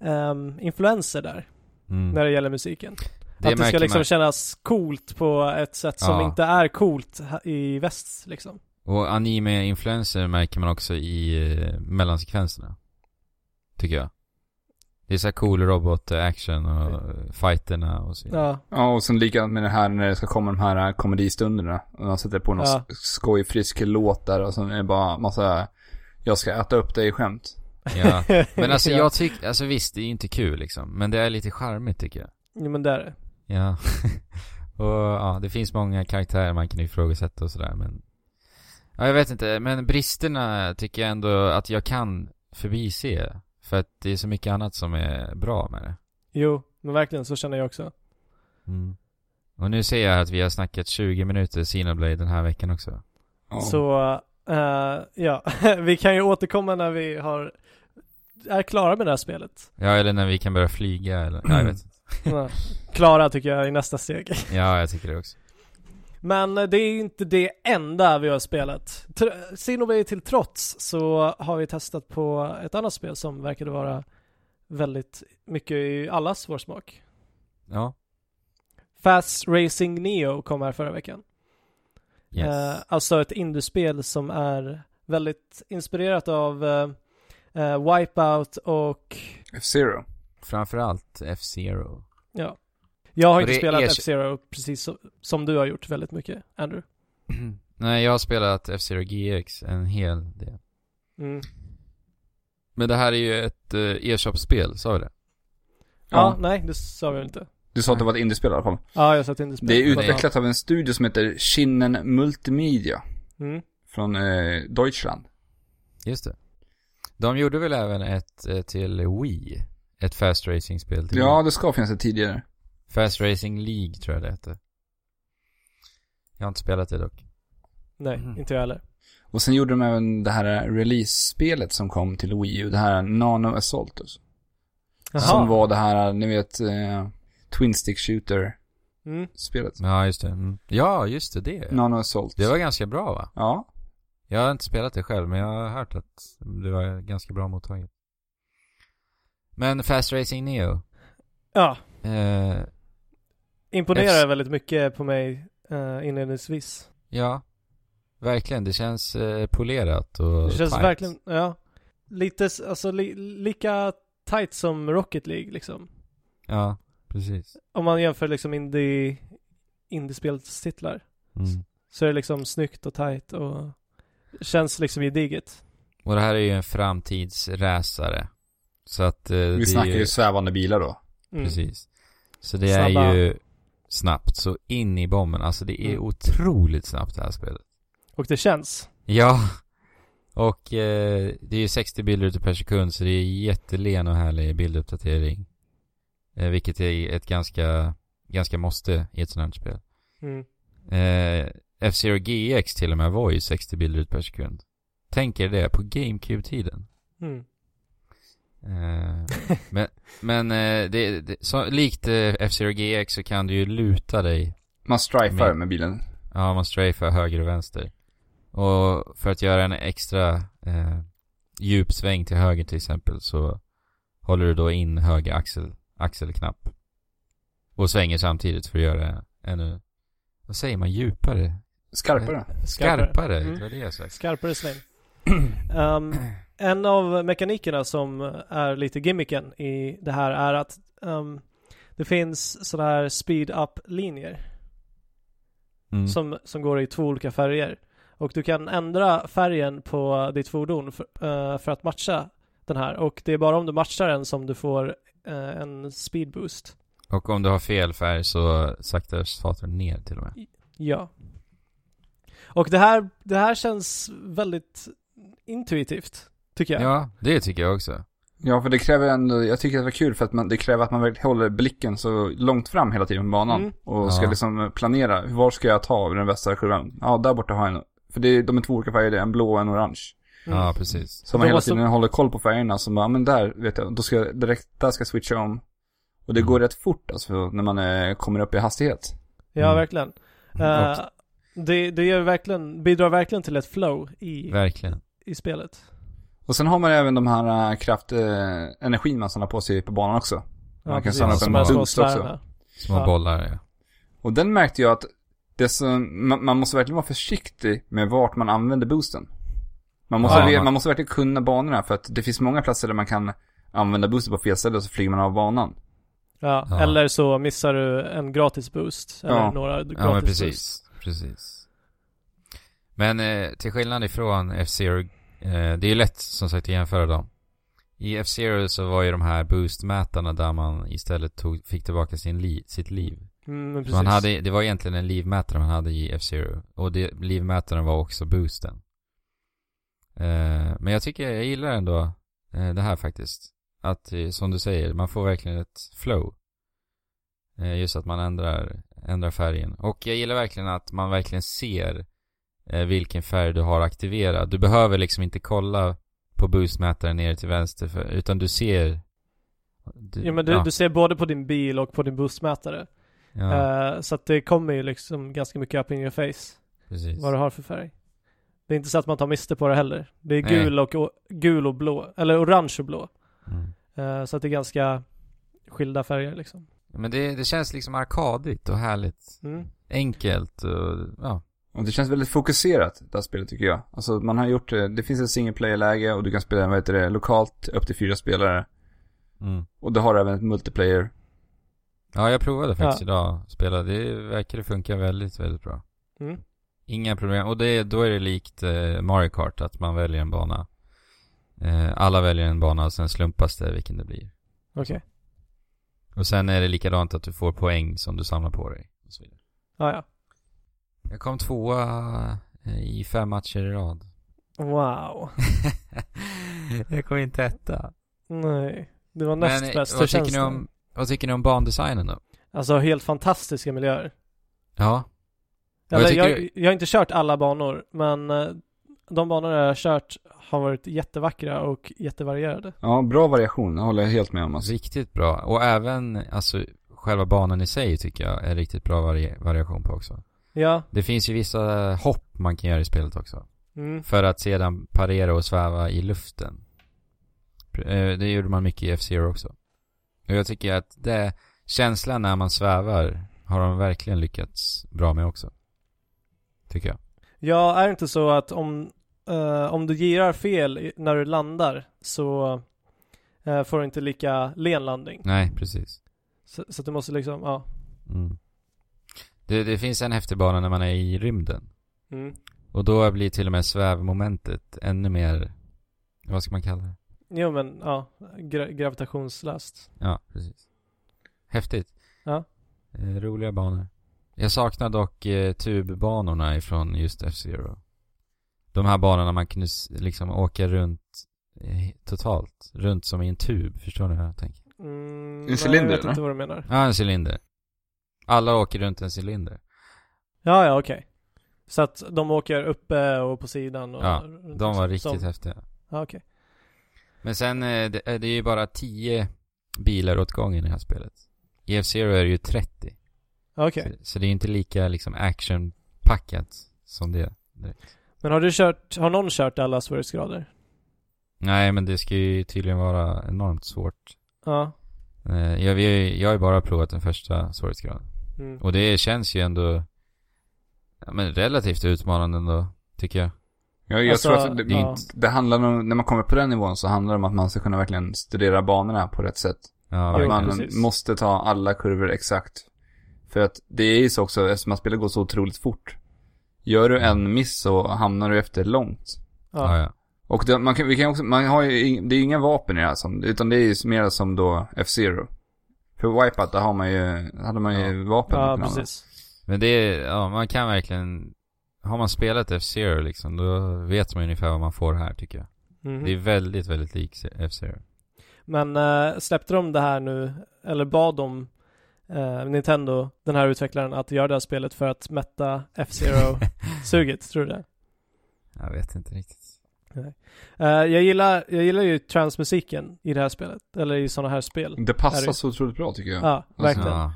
C: ehm, influenser där.
A: Mm.
C: när det gäller musiken.
A: Det
C: att det ska
A: märker
C: liksom
A: man.
C: kännas coolt på ett sätt som
A: Ja.
C: inte är coolt ha- i väst liksom.
A: Och anime-influenser märker man också i eh, mellansekvenserna. Tycker jag. Det är så här cool robot-action och eh, fighterna och så vidare.
C: Ja,
B: Ja, och sen likadant med det här när det ska komma de här eh, komedistunderna. Och de sätter på någon
C: Ja.
B: sk- skoj, frisk låt där och sen är det bara massa jag ska äta upp dig-skämt.
A: Ja.
C: <laughs>
A: Men alltså jag tycker, alltså visst det är inte kul liksom, men det är lite charmigt tycker jag.
C: Jo, men där.
A: Ja. <laughs> och ja, det finns många karaktärer man kan ifrågasätta och sådär men... Ja, jag vet inte, men bristerna tycker jag ändå att jag kan förbise. För att det är så mycket annat som är bra med det.
C: Jo, men verkligen så känner jag också.
A: Mm. Och nu ser jag att vi har snackat 20 minuter Xenoblade den här veckan också.
B: Ja.
C: Så eh, ja, <laughs> vi kan ju återkomma när vi har, är klara med det
A: <laughs>
C: här spelet.
A: Ja, eller när vi kan börja flyga eller, ja, jag vet <clears throat> inte.
C: Ja. Klara tycker jag är nästa steg.
A: Ja, jag tycker det också.
C: Men eh, det är ju inte det enda vi har spelat. Tr- Xenoblade till trots så har vi testat på ett annat spel som verkade vara väldigt mycket i allas vår smak.
A: Ja.
C: Fast Racing Neo kom här förra veckan.
A: Yes.
C: Eh, alltså ett indiespel som är väldigt inspirerat av eh, eh, Wipeout och
B: F-Zero.
A: Framförallt <clears throat> F-Zero.
C: ja. Jag har
A: Och
C: inte
A: det
C: spelat
A: är-
C: F-Zero precis so- som du har gjort väldigt mycket, Andrew.
A: Nej, jag har spelat F-Zero GX en hel del.
C: Mm.
A: Men det här är ju ett eh, e-shop-spel, sa vi det?
B: Ja.
C: Ja, nej, det sa vi inte.
B: Du sa att det var ett indiespel i alla fall.
C: Ja, jag sa ett indiespel.
B: Det är
A: Nej.
B: utvecklat av en studio som heter Shinnen Multimedia.
C: Mm.
B: Från eh, Deutschland.
A: Just det. De gjorde väl även ett eh, till Wii? Ett fast racing-spel till
B: Ja,
A: Wii.
B: det ska finnas ett tidigare.
A: Fast Racing League tror jag det hette. Jag har inte spelat det dock.
C: Nej,
A: Mhm.
C: inte jag heller.
B: Och sen gjorde de även det här release-spelet som kom till Wii U. Det här Nano Assault. Alltså,
C: Jaha.
B: som var det här, ni vet, eh, Twin Stick Shooter-spelet.
C: Mm.
A: Ja, just det. Mm. Ja, just det. Det.
B: Nano Assault.
A: det var ganska bra va?
B: Ja.
A: Jag har inte spelat det själv, men jag har hört att det var ganska bra mottaget. Men Fast Racing Neo.
C: Ja,
A: Eh,
C: imponerar
A: F-
C: väldigt mycket på mig eh, inledningsvis.
A: ja, verkligen. Det känns eh, polerat och
C: Det känns
A: tight.
C: verkligen, ja. Lite, s- alltså li, lika tight som Rocket League liksom.
A: Ja, precis.
C: om man jämför liksom indie, indiespelstitlar
A: Mm.
C: så är det liksom snyggt och tight och känns liksom gediget.
A: Och det här är ju en framtidsräsare. Så att eh,
B: Vi
A: det är
B: snackar
A: ju...
B: ju svävande bilar då.
C: Mm.
A: Precis. Så det är
C: Snabba.
A: ju snabbt så in i bomben. Alltså det är
C: Mm.
A: otroligt snabbt det här spelet.
C: Och det känns.
A: Ja. Och eh, det är ju 60 bilder ute per sekund så det är jättelen och härlig bilduppdatering. Eh, vilket är ett ganska, ganska måste i ett sånt här spel.
C: Mm.
A: Eh, F-Zero GX till och med var ju 60 bilder ute per sekund. Tänk er det, på GameCube-tiden.
C: Mm.
A: Eh, men men eh, det, det, så, likt eh, F-Zero GX så kan du ju luta dig
B: Man strifar
A: Men-
B: med bilen.
A: Ja, man strafar höger och vänster. Och för att göra en extra eh, djup sväng till höger till exempel så håller du då in höger axel, axelknapp. Och svänger samtidigt för att göra ännu, vad säger man, djupare?
B: Skarpare.
A: Skarpare,
C: Mm.
A: det var det jag sa. <clears throat>
C: Skarpare sväng. Ehm, en av mekanikerna som är lite gimmicken i det här är att ehm, det finns sådana här speed-up-linjer
A: Mm.
C: som, som går i två olika färger. Och du kan ändra färgen på ditt fordon för, eh, för att matcha den här. Och det är bara om du matchar den som du får eh, en speed boost.
A: Och om du har fel färg så saktar datorn ner till och med.
C: Ja. Och det här, det här känns väldigt intuitivt, tycker jag.
A: Ja, det tycker jag också.
B: Ja, för det kräver ändå, jag tycker det var kul för att man, det kräver att man verkligen håller blicken så långt fram hela tiden på banan.
C: Mm.
B: Och ska
A: Ja.
B: liksom planera, var ska jag ta över den västra kurvan? Ja, där borta har jag en. För det, är- de är två olika färger, det är en blå och en orange.
C: Mm.
A: Ja, precis.
B: Så
C: Och
B: man
C: de
B: hela
C: var så-
B: tiden håller koll på färgerna, så bara, men där vet jag, då ska jag direkt, där ska jag switcha om. Och det
C: Mm.
B: går rätt fort alltså, när man eh, kommer upp i hastighet.
C: ja
A: Mm.
C: verkligen. Eh, det det gör verkligen, bidrar verkligen till ett flow i,
A: Verkligen.
C: i spelet.
B: Och sen har man även de här eh, kraft, eh, energin man samlar på sig på banan också. Man kan
C: precis.
B: samla upp
C: Som
B: en
C: här små
B: boost också.
C: sfärerna.
A: Små
C: Ja.
A: bollar, ja.
B: Och den märkte jag att det som, man, man måste verkligen vara försiktig med vart man använder boosten. Man måste,
A: Ja,
B: ve-
A: man-
B: man... måste verkligen kunna banorna för att det finns många platser där man kan använda boosten på fel ställe och så flyger man av banan.
C: Ja,
A: Ja.
C: eller så missar du en gratis boost. Eller
B: Ja.
C: några gratis
A: Ja men
C: boost.
A: precis, precis. Men eh, till skillnad ifrån F-Zero, eh, det är ju lätt som sagt att jämföra dem. I F-Zero så var ju de här boostmätarna där man istället tog, fick tillbaka sin li, sitt liv.
C: Mm, men precis.
A: Man hade, det var egentligen en livmätare man hade i F-Zero. Och det, livmätaren var också boosten. Eh, men jag tycker, jag gillar ändå eh, det här faktiskt. Att eh, som du säger, man får verkligen ett flow. Eh, just att man ändrar, ändrar färgen. Och jag gillar verkligen att man verkligen ser eh, vilken färg du har aktiverad. Du behöver liksom inte kolla på boostmätaren ner till vänster, för, utan du ser... Du,
C: Ja, men du, du ser både på din bil och på din boostmätare.
A: ja,
C: Eh, så att det kommer ju liksom ganska mycket up in your face
A: precis.
C: vad du har för färg. Det är inte så att man tar miste på det heller. Det är
A: Nej.
C: gul och, och, gul och blå, eller orange och blå.
A: Mm.
C: Eh, så att det är ganska skilda färger liksom.
A: Men det, det känns liksom arkadigt och härligt.
C: Mm.
A: Enkelt och, ja.
B: Och det känns väldigt fokuserat, det här spelet tycker jag. Alltså man har gjort, eh, det finns ett single player-läge och du kan spela, vad heter det, lokalt upp till fyra spelare.
A: Mm.
B: Och det har även ett multiplayer.
A: Ja, jag provade faktiskt
C: Ja.
A: idag att spela. Det verkar funka väldigt, väldigt bra.
C: Mm.
A: Inga problem. Och det, då är det likt eh, Mario Kart, att man väljer en bana. Eh, alla väljer en bana och sen slumpas det vilken det blir.
C: Okej.
A: Och sen är det likadant att du får poäng som du samlar på dig. Och så vidare.
C: Ah, ja.
A: Jag kom tvåa eh, i fem matcher i rad.
C: Wow. <laughs>
A: jag kom inte etta.
C: Nej. Det var näst
A: Men eh,
C: bäst. Hur
A: vad tycker,
C: känns
A: ni
C: det?
A: om, vad tycker ni om bandesignen då?
C: Alltså helt fantastiska miljöer.
A: Ja. Vad
C: Eller,
A: tycker
C: jag, jag, har inte kört alla banor, men eh, de banor jag har kört har varit jättevackra och jättevarierade.
B: Ja, bra variation, det håller jag helt med om. Alltså.
A: Riktigt bra. Och även alltså, själva banan i sig tycker jag är riktigt bra vari- variation på också.
C: Ja.
A: Det finns ju vissa hopp man kan göra i spelet också.
C: Mm.
A: För att sedan parera och sväva i luften. Eh, Det gjorde man mycket i F-Zero också. Och jag tycker att det, känslan när man svävar har de verkligen lyckats bra med också. Tycker jag.
C: Ja, är det inte så att om, eh, om du girar fel i- när du landar så eh, får du inte lika len landning.
A: Nej, precis.
C: Så, så att du måste liksom, ja.
A: Mm. Det, det finns en häftig bana när man är i rymden.
C: Mm.
A: Och då blir till och med svävmomentet ännu mer, vad ska man kalla det?
C: Jo men, ja. Gra- gravitationslöst.
A: Ja, precis. Häftigt.
C: Ja.
A: Eh, roliga banor. Jag saknar dock eh, tubbanorna ifrån just F-Zero. De här banorna man kunde s- liksom åka runt eh, totalt. Runt som i en tub, förstår ni vad jag tänker?
C: Mm,
B: En cylinder,
C: nej, Jag vet
B: eller?
C: inte vad du menar.
A: Ja, en cylinder. Alla åker runt en cylinder.
C: Ja, ja, okej. Så att de åker uppe och på sidan och
A: Ja,
C: runt
A: De
C: och
A: var
C: så-
A: riktigt
C: som-
A: häftiga.
C: Ja, okej.
A: Men sen, eh, det, det är ju bara 10 bilar åt gången i det här spelet. I F-Zero är det ju 30.
C: Ja, Okej.
A: Så, så det är inte lika liksom actionpackat som det.
C: Men har du kört, har någon kört alla svårighetsgrader?
A: Nej, men det ska ju tydligen vara enormt svårt.
C: Ja.
A: Eh, Jag, vi, har ju- jag har ju bara provat den första svårighetsgraden.
C: Mm.
A: Och det känns ju ändå ja, men relativt utmanande ändå, tycker jag.
B: Jag, jag
C: Alltså,
B: tror att det,
A: det är
C: ja.
B: det handlar om, när man kommer på den nivån så handlar det om att man ska kunna verkligen studera banorna på rätt sätt.
A: Ja,
C: Jo,
B: Att
A: verkligen.
B: man
C: precis.
B: måste ta alla kurvor exakt. För att det är ju så också, eftersom att spelet går så otroligt fort. Gör du en miss så hamnar du efter långt.
A: ja,
C: Ja.
A: ja.
B: Och det, man, kan, vi kan också, man har ju, ing- det är ju inga vapen i det här som, utan det är ju mer som då F-Zero. För Wipeout, där har man ju, hade man ju vapen. man
C: Ja,
B: kunde använda.
C: precis.
A: Men det är, ja, man kan verkligen... Har man spelat F-Zero liksom, då vet man ungefär vad man får här, tycker jag.
C: Mhm.
A: Det är väldigt, väldigt likt F-Zero.
C: Men eh, släppte de det här nu, eller bad de eh, Nintendo, den här utvecklaren, att göra det här spelet för att mätta F-Zero-suget, tror du det?
A: Jag vet inte riktigt.
C: Eh, jag, gillar, jag gillar ju transmusiken i det här spelet, eller i sådana här spel.
B: Det
C: Är
B: passar
C: det-
B: så otroligt bra tycker jag.
C: Ja, verkligen.
A: Ja.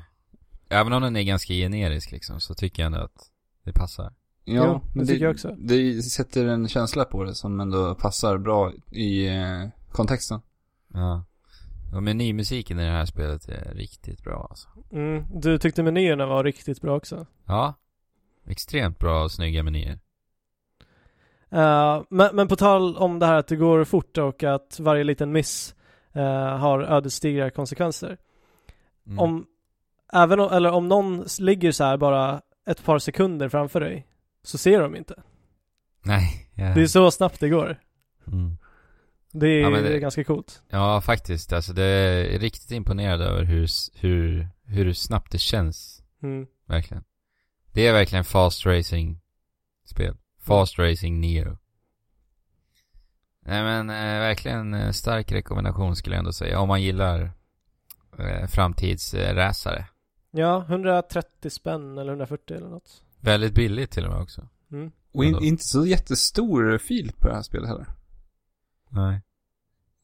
A: Även om den är ganska generisk liksom, så tycker jag ändå att det passar.
B: Ja,
C: Jo, det tycker jag också.
B: Det sätter en känsla på det som ändå passar bra i eh, kontexten.
A: Ja. Och menymusiken i det här spelet är riktigt bra alltså.
C: Mm. Du tyckte menyerna var riktigt bra också.
A: Ja. Extremt bra och snygga menyer.
C: Eh, men, men på tal om det här att det går fort och att varje liten miss eh, har ödesdigra konsekvenser.
A: Mm.
C: Om, även om, eller om någon s- ligger så här bara ett par sekunder framför dig så ser de inte.
A: Nej. Ja.
C: Det är så snabbt det går.
A: Mm.
C: Det är,
A: Ja, men det-
C: det är ganska coolt.
A: ja, faktiskt. Alltså det är riktigt imponerad över hur, s- hur, hur snabbt det känns.
C: Mm.
A: Verkligen. Det är verkligen fast racing spel. Fast racing neo. Nej men eh, verkligen eh, stark rekommendation skulle jag ändå säga. Om man gillar eh, framtidsracare.
C: Ja, 130 spänn eller 140 eller något.
A: Väldigt billigt till och med också.
C: Mm.
B: Och in,
A: Vadå?
B: inte så jättestor fil på det här spelet heller.
A: Nej.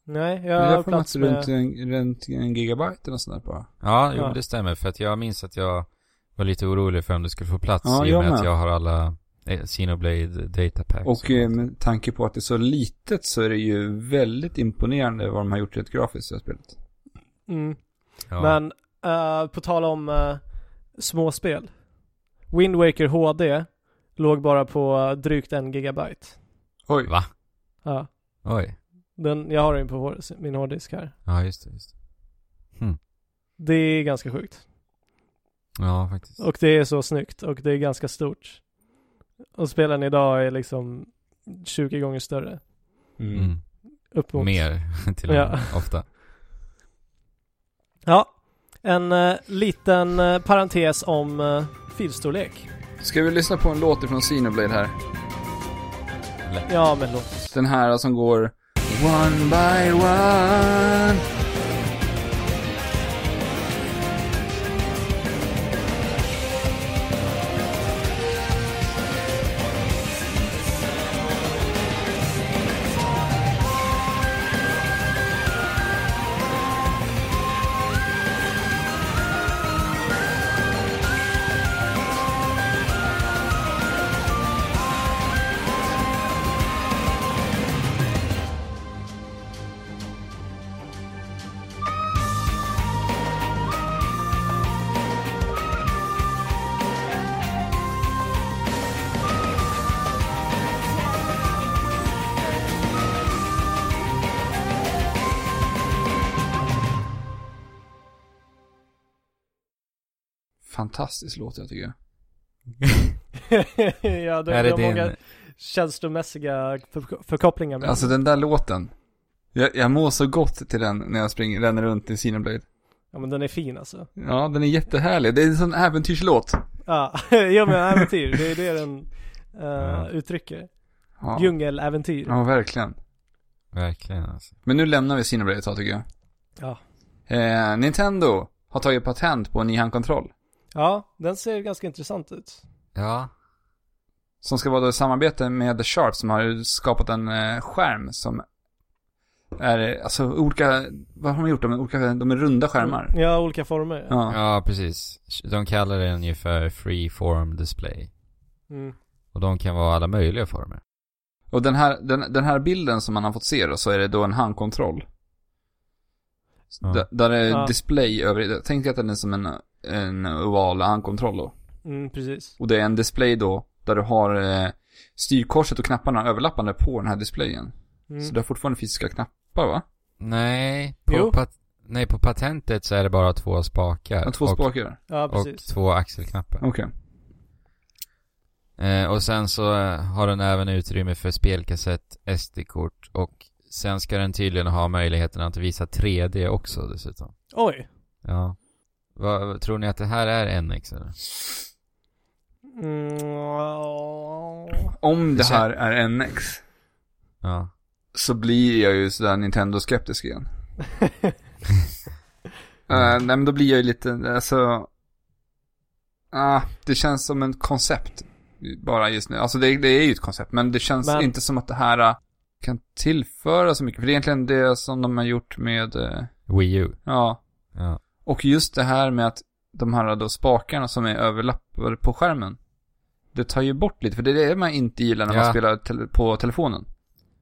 C: Nej,
B: Ja,
C: jag
B: jag har
C: har
B: för mig att
C: plats
B: det är runt,
C: med...
B: en, runt en gigabyte eller nåt sånt där bara.
A: Ja, jo,
C: Ja.
A: det stämmer. För att jag minns att jag var lite orolig för om det skulle få plats
B: Ja,
A: i och
B: jag
A: med
B: med.
A: att jag har alla eh, Xenoblade datapacks.
B: Och eh, med tanke på att det är så litet så är det ju väldigt imponerande vad de har gjort rätt grafiskt i det här spelet.
C: Mm.
A: ja.
C: Men eh, på tal om eh, småspel. Wind Waker HD låg bara på drygt en gigabyte.
B: Oj.
A: Va?
C: Ja,
A: Oj.
C: den, jag har den på hår- min hårddisk här.
A: Ja, just det. Just det.
C: Det är ganska sjukt.
A: Ja, faktiskt.
C: Och det är så snyggt och det är ganska stort. Och spelen idag är liksom 20 gånger större.
A: Mm.
C: Upp mot.
A: Mer <laughs> till och
C: Ja.
A: med,
B: <laughs>
A: ofta.
C: Ja, en eh, liten eh, parentes om eh, filstorlek.
B: Ska vi lyssna på en låt från Xenoblade här?
C: Ja, men låt. <laughs>
B: Den här som går One by one. Fantastisk låt jag tycker.
C: ja, det
A: är det
C: är
A: din...
C: många känslomässiga för- förkopplingar med
B: Alltså den där låten. Jag, jag mår så gott till den när jag springer, ränner runt i Xenoblade.
C: Ja, men den är fin alltså.
B: Ja, den är jättehärlig. Det är en sån äventyrslåt.
C: Ja, <laughs> ja men äventyr, det är det den eh,
A: Ja.
C: uttrycker.
B: Ja.
C: Djungeläventyr.
B: ja, verkligen.
A: Verkligen alltså.
B: Men nu lämnar vi Xenoblade ett tag tycker jag.
C: Ja.
B: Eh, Nintendo har tagit patent på en ny handkontroll.
C: Ja, den ser ganska intressant ut.
A: Ja.
B: Som ska vara då i samarbete med The Sharp som har skapat en eh, skärm som är, eh, alltså olika, vad har de gjort? De är, olika, de är runda skärmar.
C: Ja, olika former.
B: Ja.
A: Ja, precis. De kallar det ungefär free form display.
C: Mm.
A: Och de kan vara alla möjliga former.
B: Och den här, den, den här bilden som man har fått se då, så är det då en handkontroll.
A: Ja.
B: Där, där är
C: Ja.
B: display över, tänk dig att den är som en, en oval handkontroll då.
C: Mm, precis.
B: Och det är en display då, där du har eh, styrkorset och knapparna överlappande på den här displayen.
C: Mm.
B: Så du har fortfarande fysiska knappar va?
A: Nej, på,
C: Jo.
A: pat- nej, på patentet så är det bara två spakar.
B: Ja, två
A: och,
B: spakar.
C: Ja,
A: Och
C: precis.
A: två axelknappar.
B: Okej.
A: Eh, och sen så eh, har den även utrymme för spelkassett, SD-kort och sen ska den tydligen ha möjligheten att visa 3D också dessutom.
C: Oj.
A: Ja. Vad- tror ni att det här är NX eller?
C: Mm, ja.
B: Om det
A: Det kän-
B: här är NX
A: Ja.
B: så blir jag ju sådär Nintendo-skeptisk igen.
A: Mm.
B: Eh, nej men då blir jag ju lite, alltså... ah, det känns som ett koncept. Bara just nu. Alltså det, det är ju ett koncept. Men det känns
C: Men-
B: inte som att det här eh, kan tillföra så mycket. För det är egentligen det som de har gjort med, eh,
A: Wii U.
B: ja.
A: Ja.
B: Och just det här med att de här ah, då spakarna som är överlappade på skärmen. Det tar ju bort lite. För det är det man inte gillar när
A: Ja.
B: man spelar tele- på telefonen.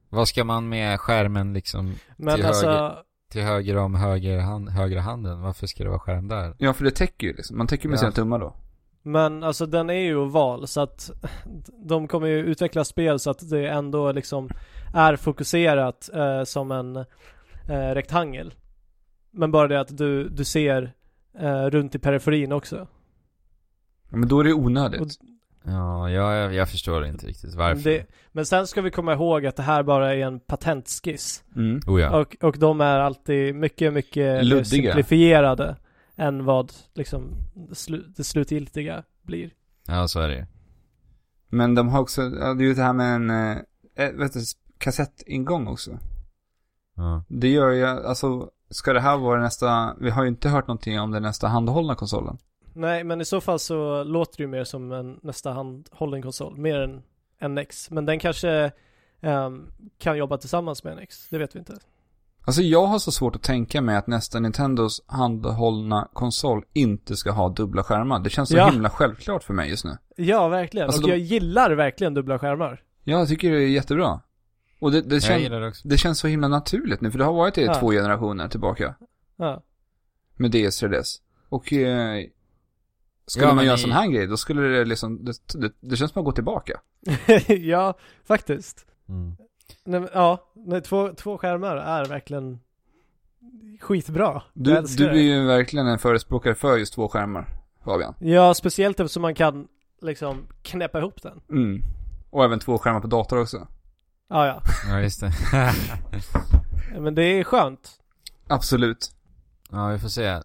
A: Vad ska man med skärmen liksom
C: Men
A: Till
C: alltså,
A: höger. till höger om höger hand, högra handen? Varför ska det vara skärm där?
B: Ja, för det täcker ju liksom. Man täcker med
A: Ja.
B: sina tummar då.
C: men alltså den är ju oval så att de kommer ju utveckla spel så att det ändå liksom är fokuserat eh, som en eh, rektangel. Men bara det att du, du ser eh, runt i periferin också.
B: Ja, men då är det ju onödigt.
C: Och-
A: Ja, jag, jag förstår inte riktigt varför.
C: Det, men sen ska vi komma ihåg att det här bara är en patentskiss.
B: Mm.
A: Oh ja.
C: Och, och de är alltid mycket, mycket mer
B: Luddiga.
C: simplifierade än vad liksom slu, det slutgiltiga blir.
A: ja, så är det ju.
B: Men de har också, ja, det är ju det här med en, eh, vet du, kassettingång också.
A: Ja.
B: Det gör ju, alltså, ska det här vara nästa, vi har ju inte hört någonting om den nästa handhållna konsolen.
C: Nej, men i så fall så låter det ju mer som en nästa handhållen konsol, mer än en NX. Men den kanske ehm, kan jobba tillsammans med NX, det vet vi inte.
B: Alltså jag har så svårt att tänka mig att nästa Nintendos handhållna konsol inte ska ha dubbla skärmar. Det känns så
C: Ja.
B: himla självklart för mig just nu.
C: Ja, verkligen.
B: Alltså,
C: och
B: de-
C: jag gillar verkligen dubbla skärmar.
B: Ja, jag tycker det är jättebra. Och det, det,
A: Jag
B: kän,
A: gillar det också.
B: det känns så himla naturligt nu, för det har varit det i
C: Ja.
B: två generationer tillbaka.
C: Ja.
B: Med DS 3DS. Och eh, skulle
A: Ja,
B: man
A: men
B: göra
A: i-
B: en sån här grej, då skulle det liksom, det, det, det känns som att gå tillbaka.
C: <laughs> ja, faktiskt.
A: Mm.
C: Nej, men, ja, nej, två, två skärmar är verkligen skitbra. Jag
B: Du,
C: älskar
B: du
C: det.
B: är ju verkligen en förespråkare för just två skärmar, Fabian.
C: Ja, speciellt eftersom man kan liksom knäppa ihop den.
B: Mm. Och även två skärmar på dator också.
C: Ja, ja.
A: Ja, just <laughs> det.
C: Men det är skönt.
B: Absolut.
A: ja, vi får se.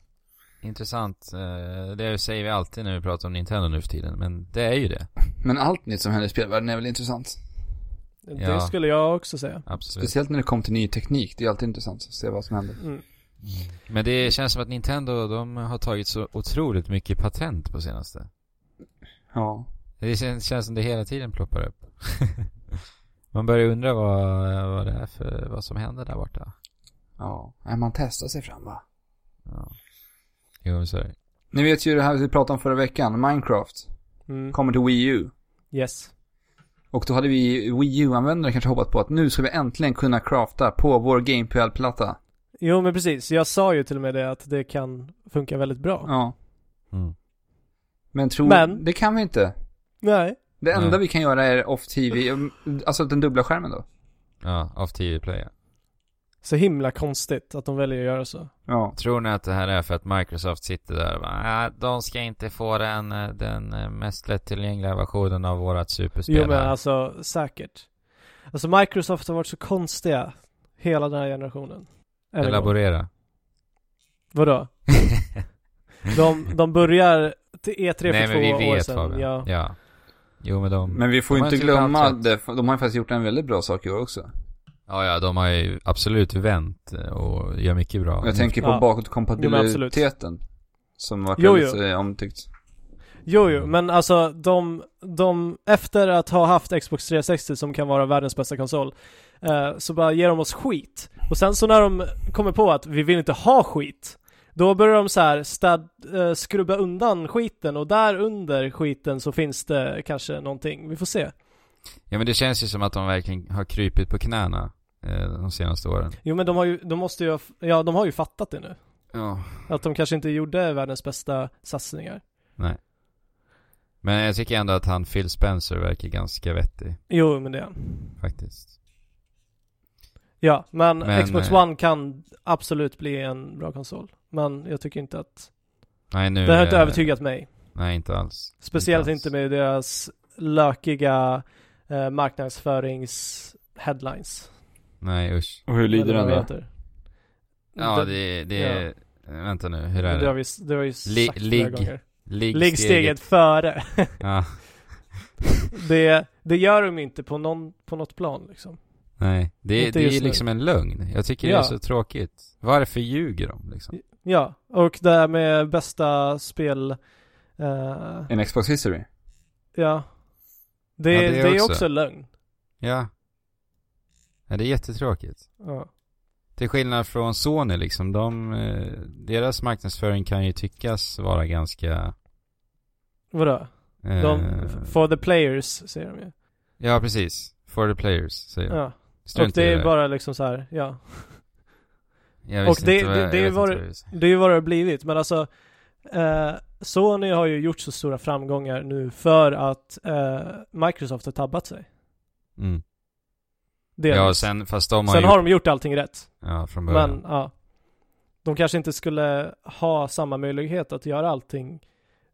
A: Intressant. Eh, Det säger vi alltid när vi pratar om Nintendo nu för tiden, men det är ju det.
B: Men allt nytt som händer i spelvärlden är väl intressant?
A: Ja.
C: Det skulle jag också säga.
A: Absolut.
B: Speciellt när det kommer till ny teknik, det är alltid intressant att se vad som händer.
C: Mm.
A: Men det känns som att Nintendo, de har tagit så otroligt mycket patent på senaste.
B: Ja.
A: Det känns, känns som det hela tiden ploppar upp. <laughs> Man börjar undra vad, vad det är för, vad som händer där borta.
B: Ja. Nej, man testar sig fram va?
A: Ja. Jo, men så är det.
B: Ni vet ju det här vi pratade om förra veckan, Minecraft.
C: Mm.
B: Kommer till Wii U.
C: Yes.
B: Och då hade vi Wii U-användare kanske hoppat på att nu ska vi äntligen kunna crafta på vår GamePL-platta.
C: Jo, men precis. Jag sa ju till och med det att det kan funka väldigt bra.
B: Ja.
A: Mm.
B: Men tror...
C: Men-
B: Det kan vi inte.
C: Nej.
B: Det enda
A: Nej.
B: vi kan göra är off-TV, alltså den dubbla skärmen då.
A: Ja, av TV Play.
C: Så himla konstigt att de väljer att göra så.
B: Ja.
A: Tror ni att det här är för att Microsoft sitter där och bara, "Ah, de ska inte få den, eh, den eh, mest lättillgängliga versionen av vårat superspel
C: Jo, men
A: här."
C: alltså säkert. Alltså Microsoft har varit så konstiga hela den här generationen. Än en gång.
A: Elaborera.
C: Vadå? De, de börjar till
A: <laughs>
C: E3
A: Nej,
C: för
A: men vi
C: två år
A: vet
C: sedan.
A: Fabian.
C: Ja.
A: Jo, men de...
B: Men vi får
A: De
B: ju
A: har
B: inte
A: inte gjort
B: glömma
A: allt rätt.
B: det, för de har ju faktiskt gjort en väldigt bra sak i år också.
A: Ja, ja, de har ju absolut vänt eh, och gör mycket bra.
B: Jag tänker på
C: Ja. Jo,
B: bakåtkompatibiliteten. Som varit
C: Jo,
B: väldigt
C: jo.
B: eh, omtyckt.
C: Jo, jo, men alltså de, de, efter att ha haft Xbox 360 som kan vara världens bästa konsol, eh, så bara ger de oss skit. Och sen så när de kommer på att vi vill inte ha skit, då börjar de så här städ, eh, skrubba undan skiten och där under skiten så finns det kanske någonting. Vi får se.
A: Ja, men det känns ju som att de verkligen har krypit på knäna eh, de senaste åren.
C: Jo, men de har ju, de måste ju, ha f- ja, de har ju fattat det nu.
A: Ja.
C: Att de kanske inte gjorde världens bästa satsningar.
A: Men jag tycker ändå att han Phil Spencer verkar ganska vettig,
C: Jo, men det.
A: faktiskt.
C: Ja, men,
A: Men,
C: Xbox
A: eh,
C: One kan absolut bli en bra konsol. Men jag tycker inte att...
A: Nej, nu...
C: Det har inte
A: eh,
C: övertygat mig.
A: Nej, inte alls.
C: Speciellt
A: alls.
C: inte med deras lökiga eh, marknadsförings-headlines.
A: Nej, usch.
B: Och hur lyder
C: Eller vad
B: den då?
C: det heter.
A: Ja,
C: Det-
A: det... det
C: ja.
A: Vänta nu, hur är
C: det har
A: det?
C: vi, det har vi
A: Li-
C: sagt flera
A: ligg.
C: gånger.
A: Ligg
C: Ligg steget före. <laughs>
A: Ja,
C: det, det gör de inte på, någon, på något plan liksom.
A: nej. Det, det
C: Inte
A: är ju
C: just nu.
A: liksom en lögn. Jag tycker det är
C: Ja.
A: så tråkigt. Varför ljuger de liksom?
C: Ja, och det här med bästa spel... eh,
B: En Xbox history?
C: ja. Det,
A: Ja,
C: det, är också,
A: också
C: lögn.
A: Ja. ja det är jättetråkigt.
C: Ja.
A: Till skillnad från Sony liksom, de, eh, deras marknadsföring kan ju tyckas vara ganska...
C: Vadå?
A: Eh,
C: De, for the players säger de ju.
A: Ja, precis. For the players, säger jag.
C: Ja. Och
A: Strunt i
C: det är
A: där.
C: bara liksom så här, ja.
A: Jag
C: och
A: visste
C: det-
A: inte vad-
C: det-
A: jag
C: det
A: vet inte
C: var-
A: vad jag vill säga.
C: Det är ju vad det har blivit, men alltså eh, Sony har ju gjort så stora framgångar nu för att eh, Microsoft har tabbat sig.
A: Mm.
C: Delvis.
A: Ja, sen, fast de har
C: Sen
A: ju...
C: har de gjort allting rätt,
A: Ja, från början.
C: men ja. De kanske inte skulle ha samma möjlighet att göra allting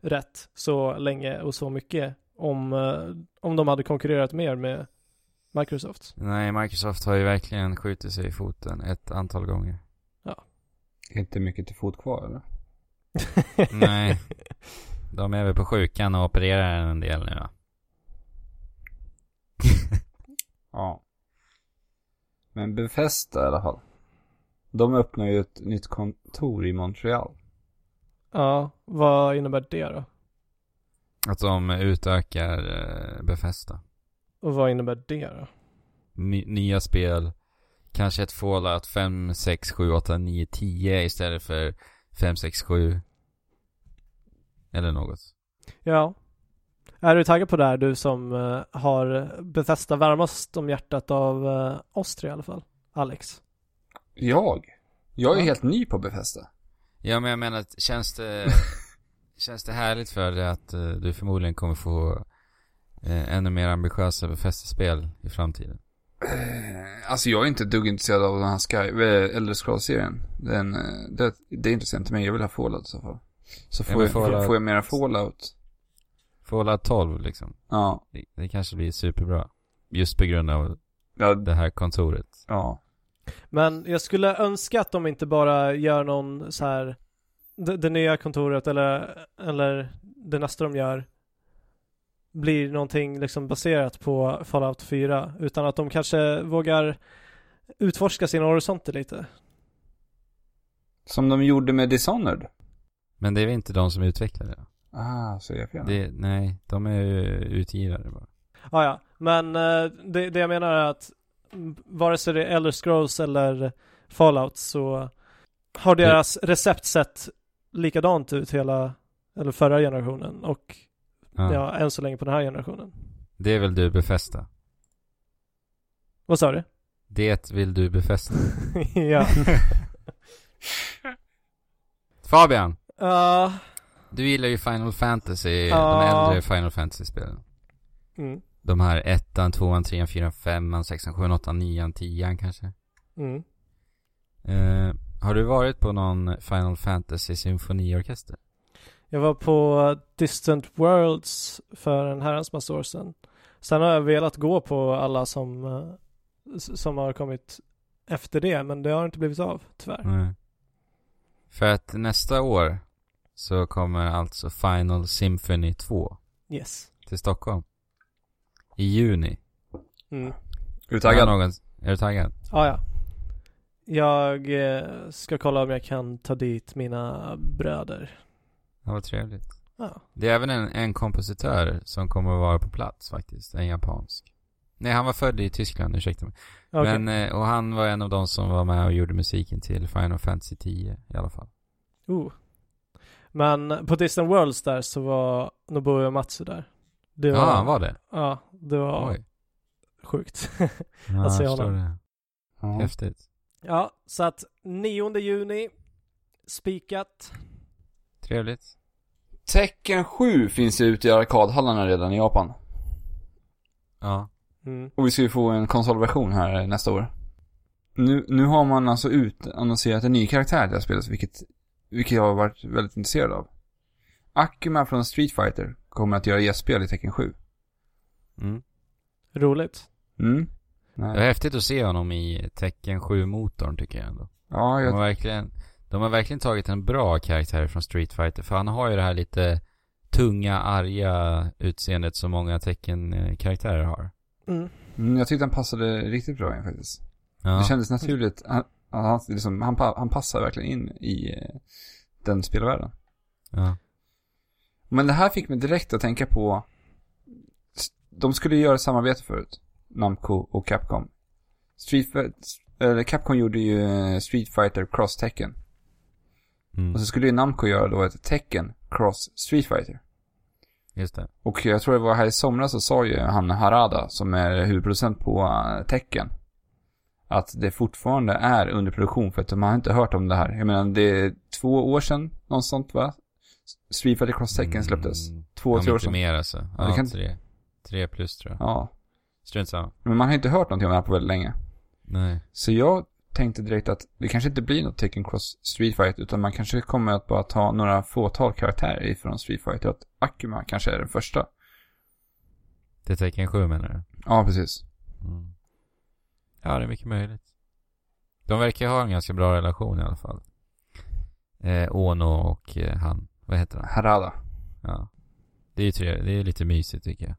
C: rätt så länge och så mycket om, eh, om de hade konkurrerat mer med Microsoft.
A: Nej, Microsoft har ju verkligen skjutit sig i foten ett antal gånger.
C: <laughs>
B: Inte mycket till fot kvar eller?
A: Nej. De är väl på sjukan och opererar en del nu va? <laughs>
B: Ja. Men Bethesda i alla fall. De öppnar ju ett nytt kontor i Montreal.
C: Ja, vad innebär det då?
A: Att de utökar eh, Bethesda.
C: Och vad innebär det då?
A: Ny, nya spel. Kanske ett Fallout 5, 6, 7, 8, 9, 10 istället för 5, 6, 7. Eller något.
C: Ja. Är du taggad på det här du som eh, har Bethesda varmast om hjärtat av eh, oss tre i alla fall? Alex?
B: Jag? Jag är
C: Ja.
B: helt ny på Bethesda.
A: Ja men jag menar, att känns det, känns det härligt för dig att eh, du förmodligen kommer få eh, ännu mer ambitiösa befästespel i framtiden?
B: Eh, Alltså jag är inte ett dugg intresserad av den här Sky, eh, Elder Scrolls-serien. Den, eh, det, det är intressant till mig, jag vill ha Fallout i så fall. Så
A: Ja,
B: får,
A: men
B: jag,
A: Fallout-
B: får jag mera Fallout.
A: Fallout 12 liksom.
B: Ja,
A: Det, det kanske blir superbra. Just på grund av
B: ja,
A: det här kontoret.
B: ja.
C: Men jag skulle önska att de inte bara gör någon så här det, det nya kontoret eller, eller det nästa de gör blir någonting liksom baserat på Fallout 4 utan att de kanske vågar utforska sina horisonter lite.
B: Som de gjorde med Dishonored.
A: Men det är väl inte de som utvecklar det? va?
B: Ah, så jag fel?
A: det <laughs> nej, de är ju utgivare bara.
C: Ah, ja, men eh, det, det jag menar är att mm, vare sig det är Elder Scrolls eller Fallout så har deras recept sett likadant ut hela, eller förra generationen och
A: Ja.
C: ja, än så länge på den här generationen.
A: Det vill du befästa.
C: Vad sa du? <laughs>
A: Det vill du befästa.
C: ja.
A: Fabian!
C: Ja.
A: Du gillar ju Final Fantasy,
C: Ja.
A: de äldre Final Fantasy-spelen.
C: mm.
A: De här ettan, tvåan, trean, fyran, femman, sexan, sjuan, åttan, nian, tian kanske.
C: Mm.
A: Eh, har du varit på någon Final Fantasy symfoniorkester?
C: Jag var på Distant Worlds för en herrans massa år sedan. Sen har jag velat gå på alla som, eh, s- som har kommit efter det, men det har inte blivit av, tyvärr.
A: Nej. För att nästa år så kommer alltså Final Symphony 2
C: Yes.
A: till Stockholm. I juni.
B: <laughs>
C: Mm.
B: Är du
A: Har
B: taggad?
A: Någon, är du taggad?
C: Ah, ja. Jag eh, ska kolla om jag kan ta dit mina bröder.
A: Ja, vad trevligt.
C: Ja.
A: Det är även en, en kompositör som kommer att vara på plats faktiskt. En japansk. Nej, han var född i Tyskland, ursäkta mig.
C: Okej.
A: Men, eh, och han var en av de som var med och gjorde musiken till Final Fantasy 10 i alla fall.
C: Oh. Men på Distant Worlds där så var Nobuo Matsu där. Det
A: Ja,
C: var,
A: han var det?
C: Ja, det var
A: Ah, Oj.
C: sjukt.
A: Ja,
C: Alltså, jag
A: jag förstår
C: håller-
A: det.
B: Ja.
A: Häftigt.
C: ja, så att 9 juni, spikat.
A: Trevligt.
B: Tecken 7 finns ju ute i arkadhallarna redan i Japan.
A: Ja.
C: Mm.
B: Och vi ska ju få en konsolversion här nästa år. Nu, nu har man alltså utannonserat en ny karaktär till det här spelet, vilket, vilket jag har varit väldigt intresserad av. Akuma från Street Fighter kommer att göra gästspel i Tekken 7.
A: Mm. Eh.
C: Roligt.
B: Mm.
A: Det
B: Nej.
A: var häftigt att se honom i Tekken 7-motorn tycker jag ändå.
B: Ja,
A: De har,
B: jag,
A: verkligen, de har verkligen tagit en bra karaktär från Street Fighter. För han har ju det här lite tunga, arga utseendet som många Tekken-karaktärer har.
C: Mm.
B: mm, jag tyckte han passade riktigt bra in faktiskt.
A: Ja.
B: Det kändes naturligt. Han, han, han liksom, han, pa- han passar verkligen in i eh, den spelvärlden.
A: ja.
B: Men det här fick mig direkt att tänka på... De skulle ju göra ett samarbete förut. Namco och Capcom. Street, Fi- eller Capcom gjorde ju eh, Street Fighter Cross Tekken.
A: Mm.
B: Och så skulle ju Namco göra då ett Tekken Cross Street Fighter.
A: Just det.
B: Och jag tror det var här i somras så sa ju han Harada, som är huvudproducent på eh, Tekken. Att det fortfarande är under produktion för att man har inte hört om det här. Jag menar det är två år sedan, något sånt va? Street Fighter Cross Tekken släpptes.
A: Mm.
B: Två,
A: ja,
B: tre
A: men
B: år
A: inte
B: sedan.
A: mer alltså.
B: Ja, det
A: Ja,
B: kan-
A: tre. Tre plus tror jag.
B: Ja.
A: Strunt samma.
B: Men man har inte hört någonting om det här på väldigt länge.
A: Nej.
B: Så jag tänkte direkt att det kanske inte blir något Tekken Cross Street Fighter utan man kanske kommer att bara ta några fåtal karaktärer ifrån Street Fighter. Att Akuma kanske är den första.
A: Det är Tekken 7 menar du?
B: Ja, precis.
A: Mm. Ja, det är mycket möjligt. De verkar ju ha en ganska bra relation i alla fall. Eh, Ono och eh, han. Vad heter han?
B: Harada.
A: Ja. Det är ju trevligt. Det är lite mysigt tycker jag.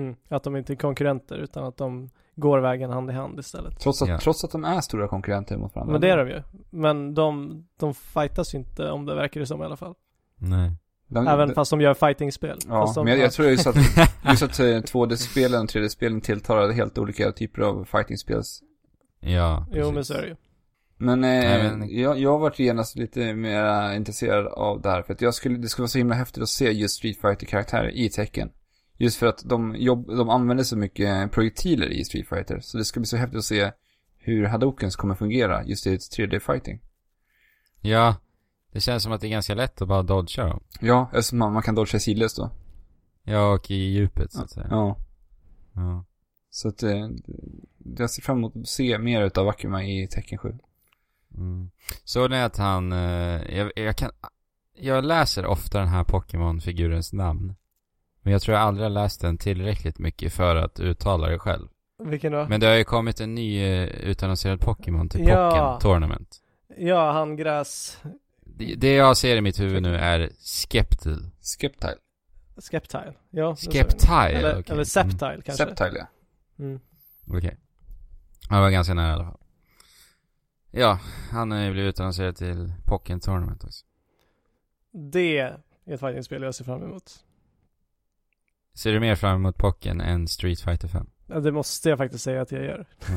C: Mm. Att de inte är konkurrenter utan att de går vägen hand i hand istället.
B: Trots att,
A: Ja.
B: trots att de är stora konkurrenter mot varandra.
C: Men det är de ju. Men de, de fightas ju inte om det verkar det som i alla fall.
A: Nej.
B: Den,
C: Även
B: den-
C: fast de gör fighting-spel.
B: Ja,
C: fast de,
B: men jag, jag tror just att,
C: <laughs>
B: just att eh, 2D-spelen och 3D-spelen tilltalar helt olika typer av fighting-spels.
A: Ja,
C: Jo, men
A: precis.
C: så är det ju.
B: Men, eh,
A: Nej, men-
B: Jag, jag har varit genast lite mer intresserad av det här. För att jag skulle, det skulle vara så himla häftigt att se just Street Fighter-karaktärer i tecken. Just för att de, jobb, de använder så mycket projektiler i Street Fighter. Så det ska bli så häftigt att se hur Hadokens kommer fungera just i ett 3D-fighting.
A: Ja, det känns som att det är ganska lätt att bara dodga dem.
B: Ja, eftersom man, man kan dodga sidlöst då.
A: Ja, och i djupet så att säga. Ja.
B: Ja. Så att eh, jag ser fram emot att se mer av Akuma i tecken 7.
A: Mm. Såg ni att han, eh, jag, jag kan, jag läser ofta den här Pokémon-figurens namn. Men jag tror jag aldrig har läst den tillräckligt mycket för att uttala det själv.
C: Vilken då?
A: Men det har ju kommit en ny eh, utannonserad Pokémon till
C: Ja.
A: Pokken Tournament.
C: Ja, han gräs...
A: Det, det jag ser i mitt huvud nu är Skeptil.
B: Skeptile.
C: Skeptile. Ja, det sa vi.
A: Skeptile,
C: Eller,
A: okej.
C: eller Septile kanske.
B: Septile, ja.
C: Mm.
A: Okej. Han var ganska nära i alla fall. Ja, han har ju blivit utannonserad till Pokken Tournament också.
C: Det är ett fighting-spel jag ser fram emot.
A: Ser du mer fram emot Pokken än Street Fighter 5?
C: Ja, Det måste jag faktiskt säga att jag gör.
A: Ja.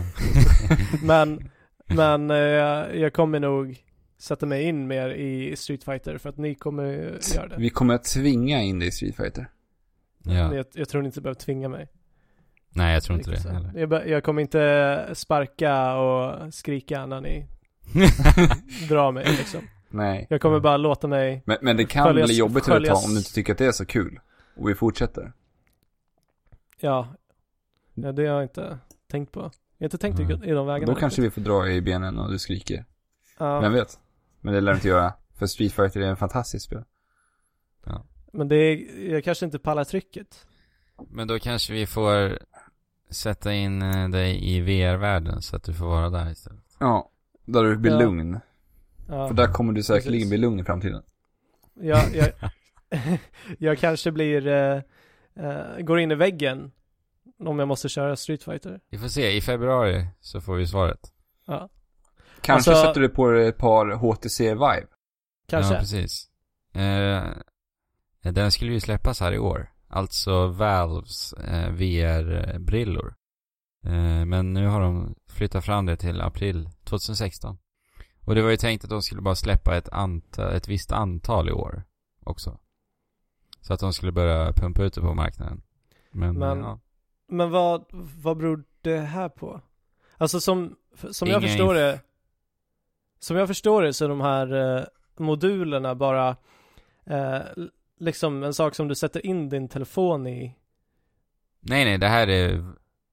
C: <laughs> Men, men eh, jag- jag kommer nog sätta mig in mer i Street Fighter för att ni kommer eh, göra det.
B: Vi kommer att tvinga in dig i Street Fighter.
C: Men
A: ja.
C: Jag, jag tror ni inte behöver tvinga mig.
A: Nej, jag tror inte det
C: Riktigt så.
A: heller.
C: Jag, be- jag kommer inte sparka och skrika när ni drar mig liksom.
B: Nej.
A: <laughs>
C: Jag kommer
A: Mm.
C: bara låta mig,
B: Men, men det kan
C: Följas-
B: bli jobbigt att ta
C: följas-
B: om du inte tycker att det är så kul. Och vi fortsätter.
C: ja, ja det har jag inte tänkt på. Jag har inte tänkt
A: Mm.
C: i de vägarna.
B: Då kanske vi får dra i benen och du skriker.
C: Ja,
B: Vem vet? Men det lär du inte göra. För Street Fighter är en fantastisk spel.
C: men det är, jag kanske inte pallar trycket.
A: <laughs> Men då kanske vi får sätta in eh, dig i VR-världen så att du får vara där istället.
B: Ja. Där du blir
C: Ja.
B: lugn.
C: Ja,
B: För där kommer du säkerligen
C: Precis.
B: bli lugn i framtiden.
C: jag, jag, jag kanske blir, eh, eh, går in i väggen om jag måste köra Street Fighter.
A: <laughs> Vi får se, i februari så får vi svaret.
B: Kanske
C: Alltså-
B: sätter du på dig ett par HTC Vive.
C: Kanske.
A: Ja, precis. Eh, den skulle ju släppas här i år. Alltså Valves eh, VR-brillor. Eh, men nu har de flyttat fram det till april 2016. Och det var ju tänkt att de skulle bara släppa ett, anta, ett visst antal i år också. Så att de skulle börja pumpa ut det på marknaden. Men,
C: Men-
A: eh, ja.
C: Men vad, vad beror det här på? Alltså som, f- som jag
A: Ingen
C: förstår
A: inf-
C: det Som jag förstår det så är de här eh, modulerna bara eh, l- liksom en sak som du sätter in din telefon i
A: Nej, nej, det här är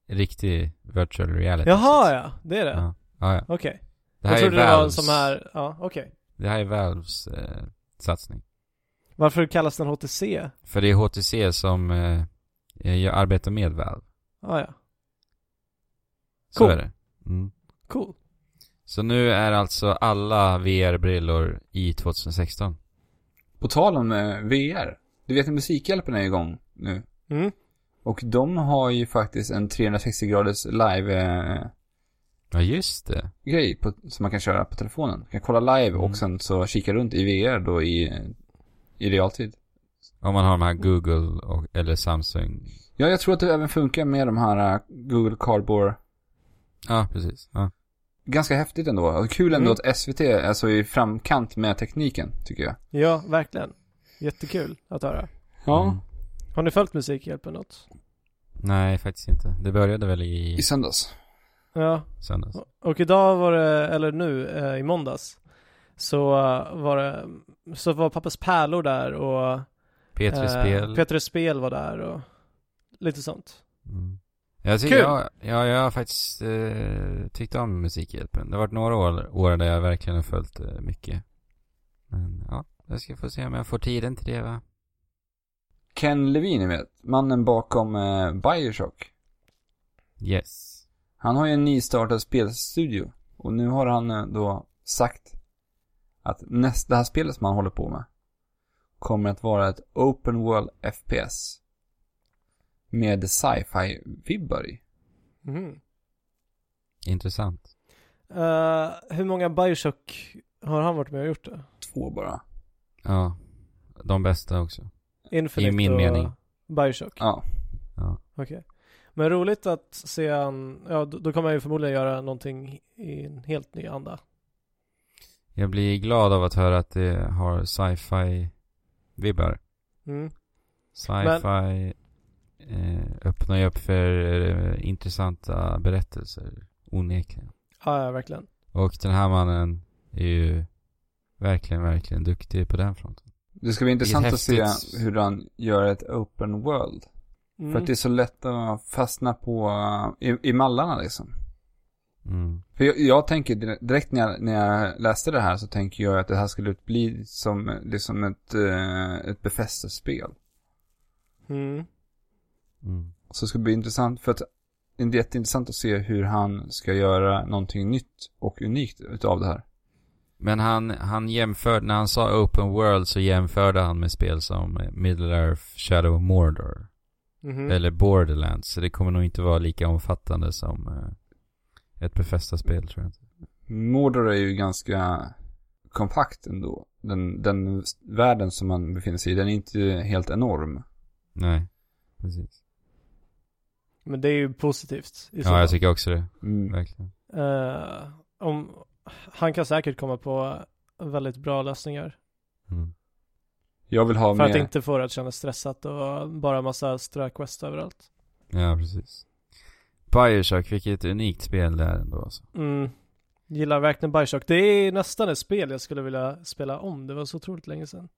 A: riktig virtual reality.
C: Jaha ja, det är det?
A: Ja, ja. ja.
C: Okej.
A: Det
C: Jag
A: här är
C: trodde det var en
A: Valves,
C: sån här, ja okej.
A: det här är Valves eh, satsning.
C: Varför kallas den HTC?
A: För det är HTC som eh, jag arbetar med Valve.
C: Ah, ja,
A: Så
C: Cool.
A: är det. Mm.
C: cool.
A: Så nu är alltså alla VR-brillor i 2016.
B: På tal om eh, VR. Du vet att Musikhjälpen är igång nu.
C: Mm.
B: Och de har ju faktiskt en 360 graders live eh,
A: Ja, just det.
B: grej på, som man kan köra på telefonen. Man kan kolla live
A: Mm.
B: och sen så kika runt i VR då i, i realtid.
A: Om man har de här Google och, eller Samsung.
B: Ja, jag tror att det även funkar med de här eh, Google Cardboard.
A: Ja, precis. Ja.
B: Ganska häftigt ändå. Och kul ändå
C: Mm.
B: att SVT är så i framkant med tekniken, tycker jag.
C: Ja, verkligen. Jättekul att höra.
A: Mm.
C: Har ni följt Musikhjälpen något?
A: Nej, faktiskt inte. Det började väl i
B: I söndags.
C: Ja,
A: söndags.
C: Och idag var det, eller nu eh, i måndags, så eh, var det, så var pappas pärlor där och eh,
A: P3 Spel.
C: Petrus Spel var där och lite sånt.
A: Mm. Jag tycker
C: Kul!
A: Jag, ja, jag har faktiskt eh, tyckt om Musikhjälpen. Det har varit några år, år där jag verkligen har följt eh, mycket. Men ja, jag ska få se om jag får tiden till det va.
B: Ken Levine, ni vet. Mannen bakom eh, Bioshock.
A: Yes.
B: Han har ju en nystartad spelstudio. Och nu har han eh, då sagt att nästa, det här spelet som han håller på med kommer att vara ett open world FPS. Med sci-fi-vibbar i.
A: Intressant.
C: Eh, hur många Bioshock har han varit med och gjort då?
B: Två bara.
A: Ja. de bästa också.
C: Infinite
A: I min
C: och
A: mening.
C: Bioshock.
B: Ja.
A: Ja.
C: Okej. Men roligt att se en, ja då, då kommer jag ju förmodligen göra någonting i en helt ny anda.
A: Jag blir glad av att höra att det har sci-fi vibbar.
C: Mm.
A: Sci-fi eh, öppnar ju upp för eh, intressanta berättelser, onekligen.
C: Ja, ja, verkligen.
A: Och den här mannen är ju verkligen, verkligen duktig på den fronten.
B: Det ska bli intressant att se
A: häftigt-
B: hur han gör ett open world.
C: Mm.
B: För att det är så lätt att fastna på, eh, i, i mallarna liksom.
A: Mm.
B: För jag, jag tänker dire- direkt när jag, när jag läste det här så tänker jag att det här skulle bli som, eh, liksom ett, eh, ett befästespel.
C: Mm.
A: Mm.
B: Så det ska bli intressant för att det är jätteintressant att se hur han ska göra någonting nytt och unikt utav det här.
A: Men han, han jämförde, när han sa open world så jämförde han med spel som Middle Earth, Shadow of Mordor.
C: Mhm.
A: Eller Borderlands. Så det kommer nog inte vara lika omfattande som eh, ett befästa spel tror jag inte.
B: Mordor är ju ganska kompakt ändå. Den, den världen som man befinner sig i, den är inte helt enorm.
A: Nej, precis.
C: Men det är ju positivt. I så
A: Ja, jag
C: fall.
A: tycker också det.
B: Mm.
A: Verkligen.
C: Eh, om, han kan säkert komma på väldigt bra lösningar.
A: Mm.
B: Jag vill ha
C: för att
B: mer.
C: inte få det att kännas stressat och bara massa ströquest överallt.
A: Ja, precis. Bioshock, vilket unikt spel det är ändå alltså.
C: Mm. Gillar verkligen Bioshock. Det är nästan ett spel jag skulle vilja spela om. Det var så otroligt länge sedan.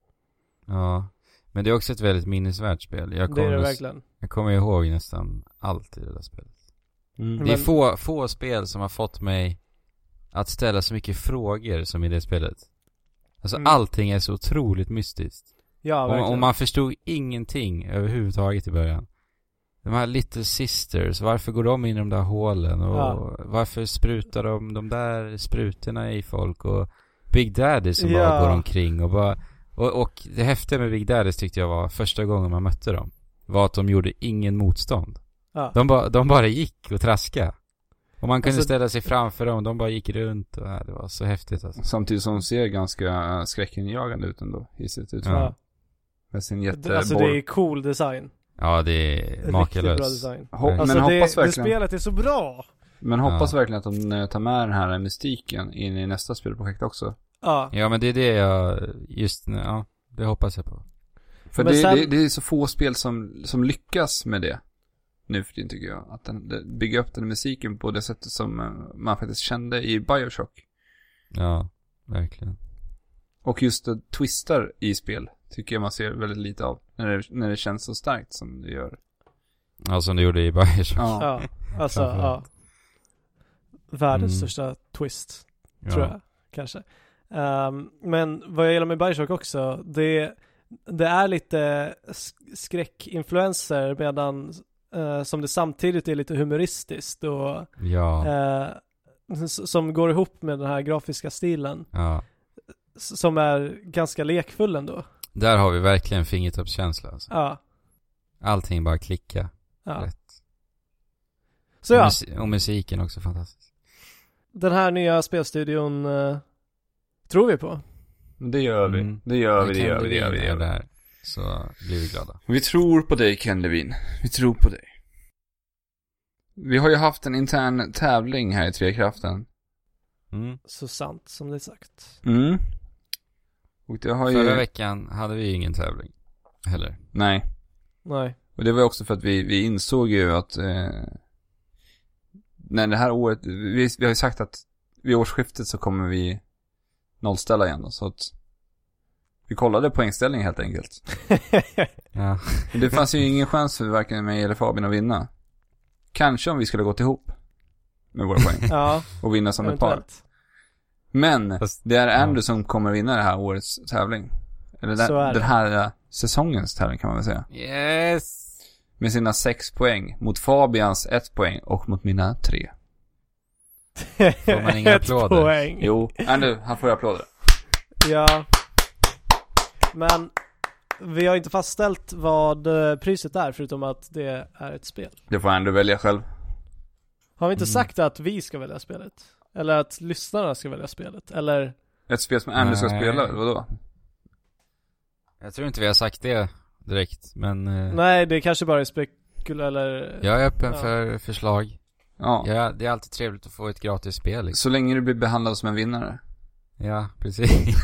A: Ja. Men det är också ett väldigt minnesvärt spel. Jag
C: Det är
A: kommer,
C: det
A: att-
C: verkligen.
A: jag kommer ihåg nästan allt i det där spelet.
B: Mm.
A: Det är
C: Men-
A: få, få spel som har fått mig att ställa så mycket frågor som i det spelet. Alltså
C: Mm.
A: allting är så otroligt mystiskt.
C: Ja,
A: och,
C: verkligen.
A: och man förstod ingenting överhuvudtaget i början. De här Little Sisters, varför går de in i de där hålen? Och
C: Ja.
A: varför sprutar de de där sprutorna i folk? Och Big Daddy som
C: Ja.
A: bara går omkring och bara... Och, och det häftiga med Big Daddies tyckte jag var första gången man mötte dem. Var att de gjorde ingen motstånd.
C: ja.
A: De, bara de bara gick och traska. Och man kunde
C: Alltså-
A: ställa sig framför dem, de bara gick runt och äh, det var så häftigt alltså.
B: Samtidigt som de ser ganska skräckinjagande ut ändå i sitt utfall.
A: Ja.
C: Ja.
B: Med sin
C: Det-
B: jätteborr.
A: eh,
C: Alltså det är cool design.
A: Ja, det är
C: Riktigt bra
A: makalöst.
C: design.
B: Hop-
A: Men
C: Alltså
B: men,
C: det,
B: hoppas
C: det
B: verkligen,
C: spelet är så bra!
B: men hoppas
A: Ja.
B: verkligen att de eh, tar med den här mystiken in i nästa spelprojekt också.
C: Ja,
A: Ja men det är det jag, just nu, ja, det hoppas jag på.
B: För
C: Men
B: det,
C: sen-
B: det, det är så få spel som, som lyckas med det. Nu för tiden tycker jag. Att den, det- bygga upp den musiken på det sättet som eh, man faktiskt kände i Bioshock.
A: Ja, verkligen.
B: Och just eh, twistar i spel tycker jag man ser väldigt lite av. När det, när det känns så starkt som det gör.
A: Ja som du gjorde i Bioshock.
B: Ja.
C: ja. Alltså, ja.
A: Framförallt.
C: Världens
A: Mm.
C: största twist,
A: Ja.
C: <laughs> tror jag. Kanske. Ehm, men vad jag gillar med Bioshock också, det, det är lite sk- skräckinfluenser medan eh, som det samtidigt är lite humoristiskt och
A: Ja,
C: eh, s- som går ihop med den här grafiska stilen
A: ja.
C: s- som är ganska lekfull ändå.
A: Där har vi verkligen fingertoppskänsla alltså.
C: Ja,
A: Allting bara klicka.
C: ja.
A: Rätt.
C: Så ja,
A: Och, mus- och musiken också fantastisk.
C: den här nya spelstudion eh, tror vi på.
B: Det gör vi.
A: Mm.
B: Det gör vi,
A: Men
B: det
A: kan
B: gör vi, det gör vi, det
A: vinna
B: gör vi.
A: här så blir vi glada.
B: Vi tror på dig Ken Levin. Vi tror på dig. Vi har ju haft en intern tävling här i Trekraften.
A: Mm.
C: Så sant som det är sagt.
B: Mm. Och det har ju...
A: Förra veckan hade vi ju ingen tävling. Heller.
B: Nej.
C: <laughs> Nej.
B: Och det var ju också för att vi, vi insåg ju att... Eh... När det här året... Vi, vi har ju sagt att vid årsskiftet så kommer vi nollställa igen då, så att... Vi kollade poängställningen helt enkelt.
A: Ja.
B: Men
A: <laughs>
B: det fanns ju ingen chans för varken mig eller Fabian att vinna. Kanske om vi skulle gått ihop. Med våra poäng.
C: ja,
B: och vinna som ett par.
C: eventuellt.
B: Men
A: Fast-
B: det är Andrew
A: ja.
B: som kommer vinna det här årets tävling. Eller
C: Så är
B: den,
C: det.
B: den här eh, säsongens tävling kan man väl säga.
A: Yes!
B: Med sina sex poäng mot Fabians ett poäng och mot mina tre.
A: Får man inga
C: <laughs> Ett
A: applåder?
C: poäng.
B: Jo, Andrew, han får applåder.
C: Ja. Men vi har inte fastställt vad eh, priset är förutom att det är ett spel.
B: Det får Andrew välja själv.
C: Har vi inte
A: Mm.
C: sagt att vi ska välja spelet? Eller att lyssnarna ska välja spelet? Eller?
B: Ett spel som Andrew ska
A: Nej.
B: spela, eller vadå?
A: Jag tror inte vi har sagt det direkt, men... eh,
C: Nej, det kanske bara är spekul eller...
A: Jag är öppen
C: Ja.
A: för förslag.
B: Ja.
A: Ja, det är alltid trevligt att få ett gratis spel liksom.
B: Så länge du blir behandlad som en vinnare.
A: Ja, precis.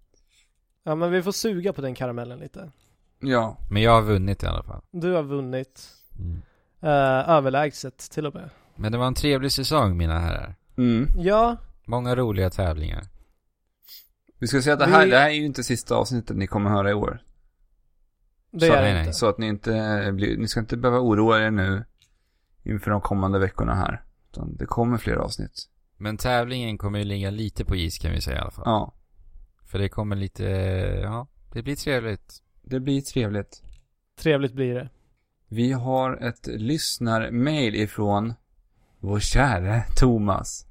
A: <laughs>
C: ja, men vi får suga på den karamellen lite.
B: ja.
A: Men jag har vunnit i alla fall.
C: Du har vunnit eh, överlägset till och med.
A: Men det var en trevlig säsong mina herrar.
B: Mm.
C: Ja,
A: Många roliga tävlingar.
B: Vi ska säga att det här,
C: Vi-
B: det här är ju inte sista avsnittet ni kommer höra i år.
C: det
A: Så,
C: är
A: nej,
C: det
A: nej.
C: inte.
B: Så att ni inte eh, blir, ni ska inte behöva oroa er nu inför de kommande veckorna här. Utan det kommer fler avsnitt.
A: Men tävlingen kommer ju ligga lite på is kan vi säga i alla fall.
B: Ja.
A: För det kommer lite, eh, ja, det blir trevligt.
B: Det blir trevligt.
C: Trevligt blir det.
B: Vi har ett lyssnarmail ifrån vår käre Thomas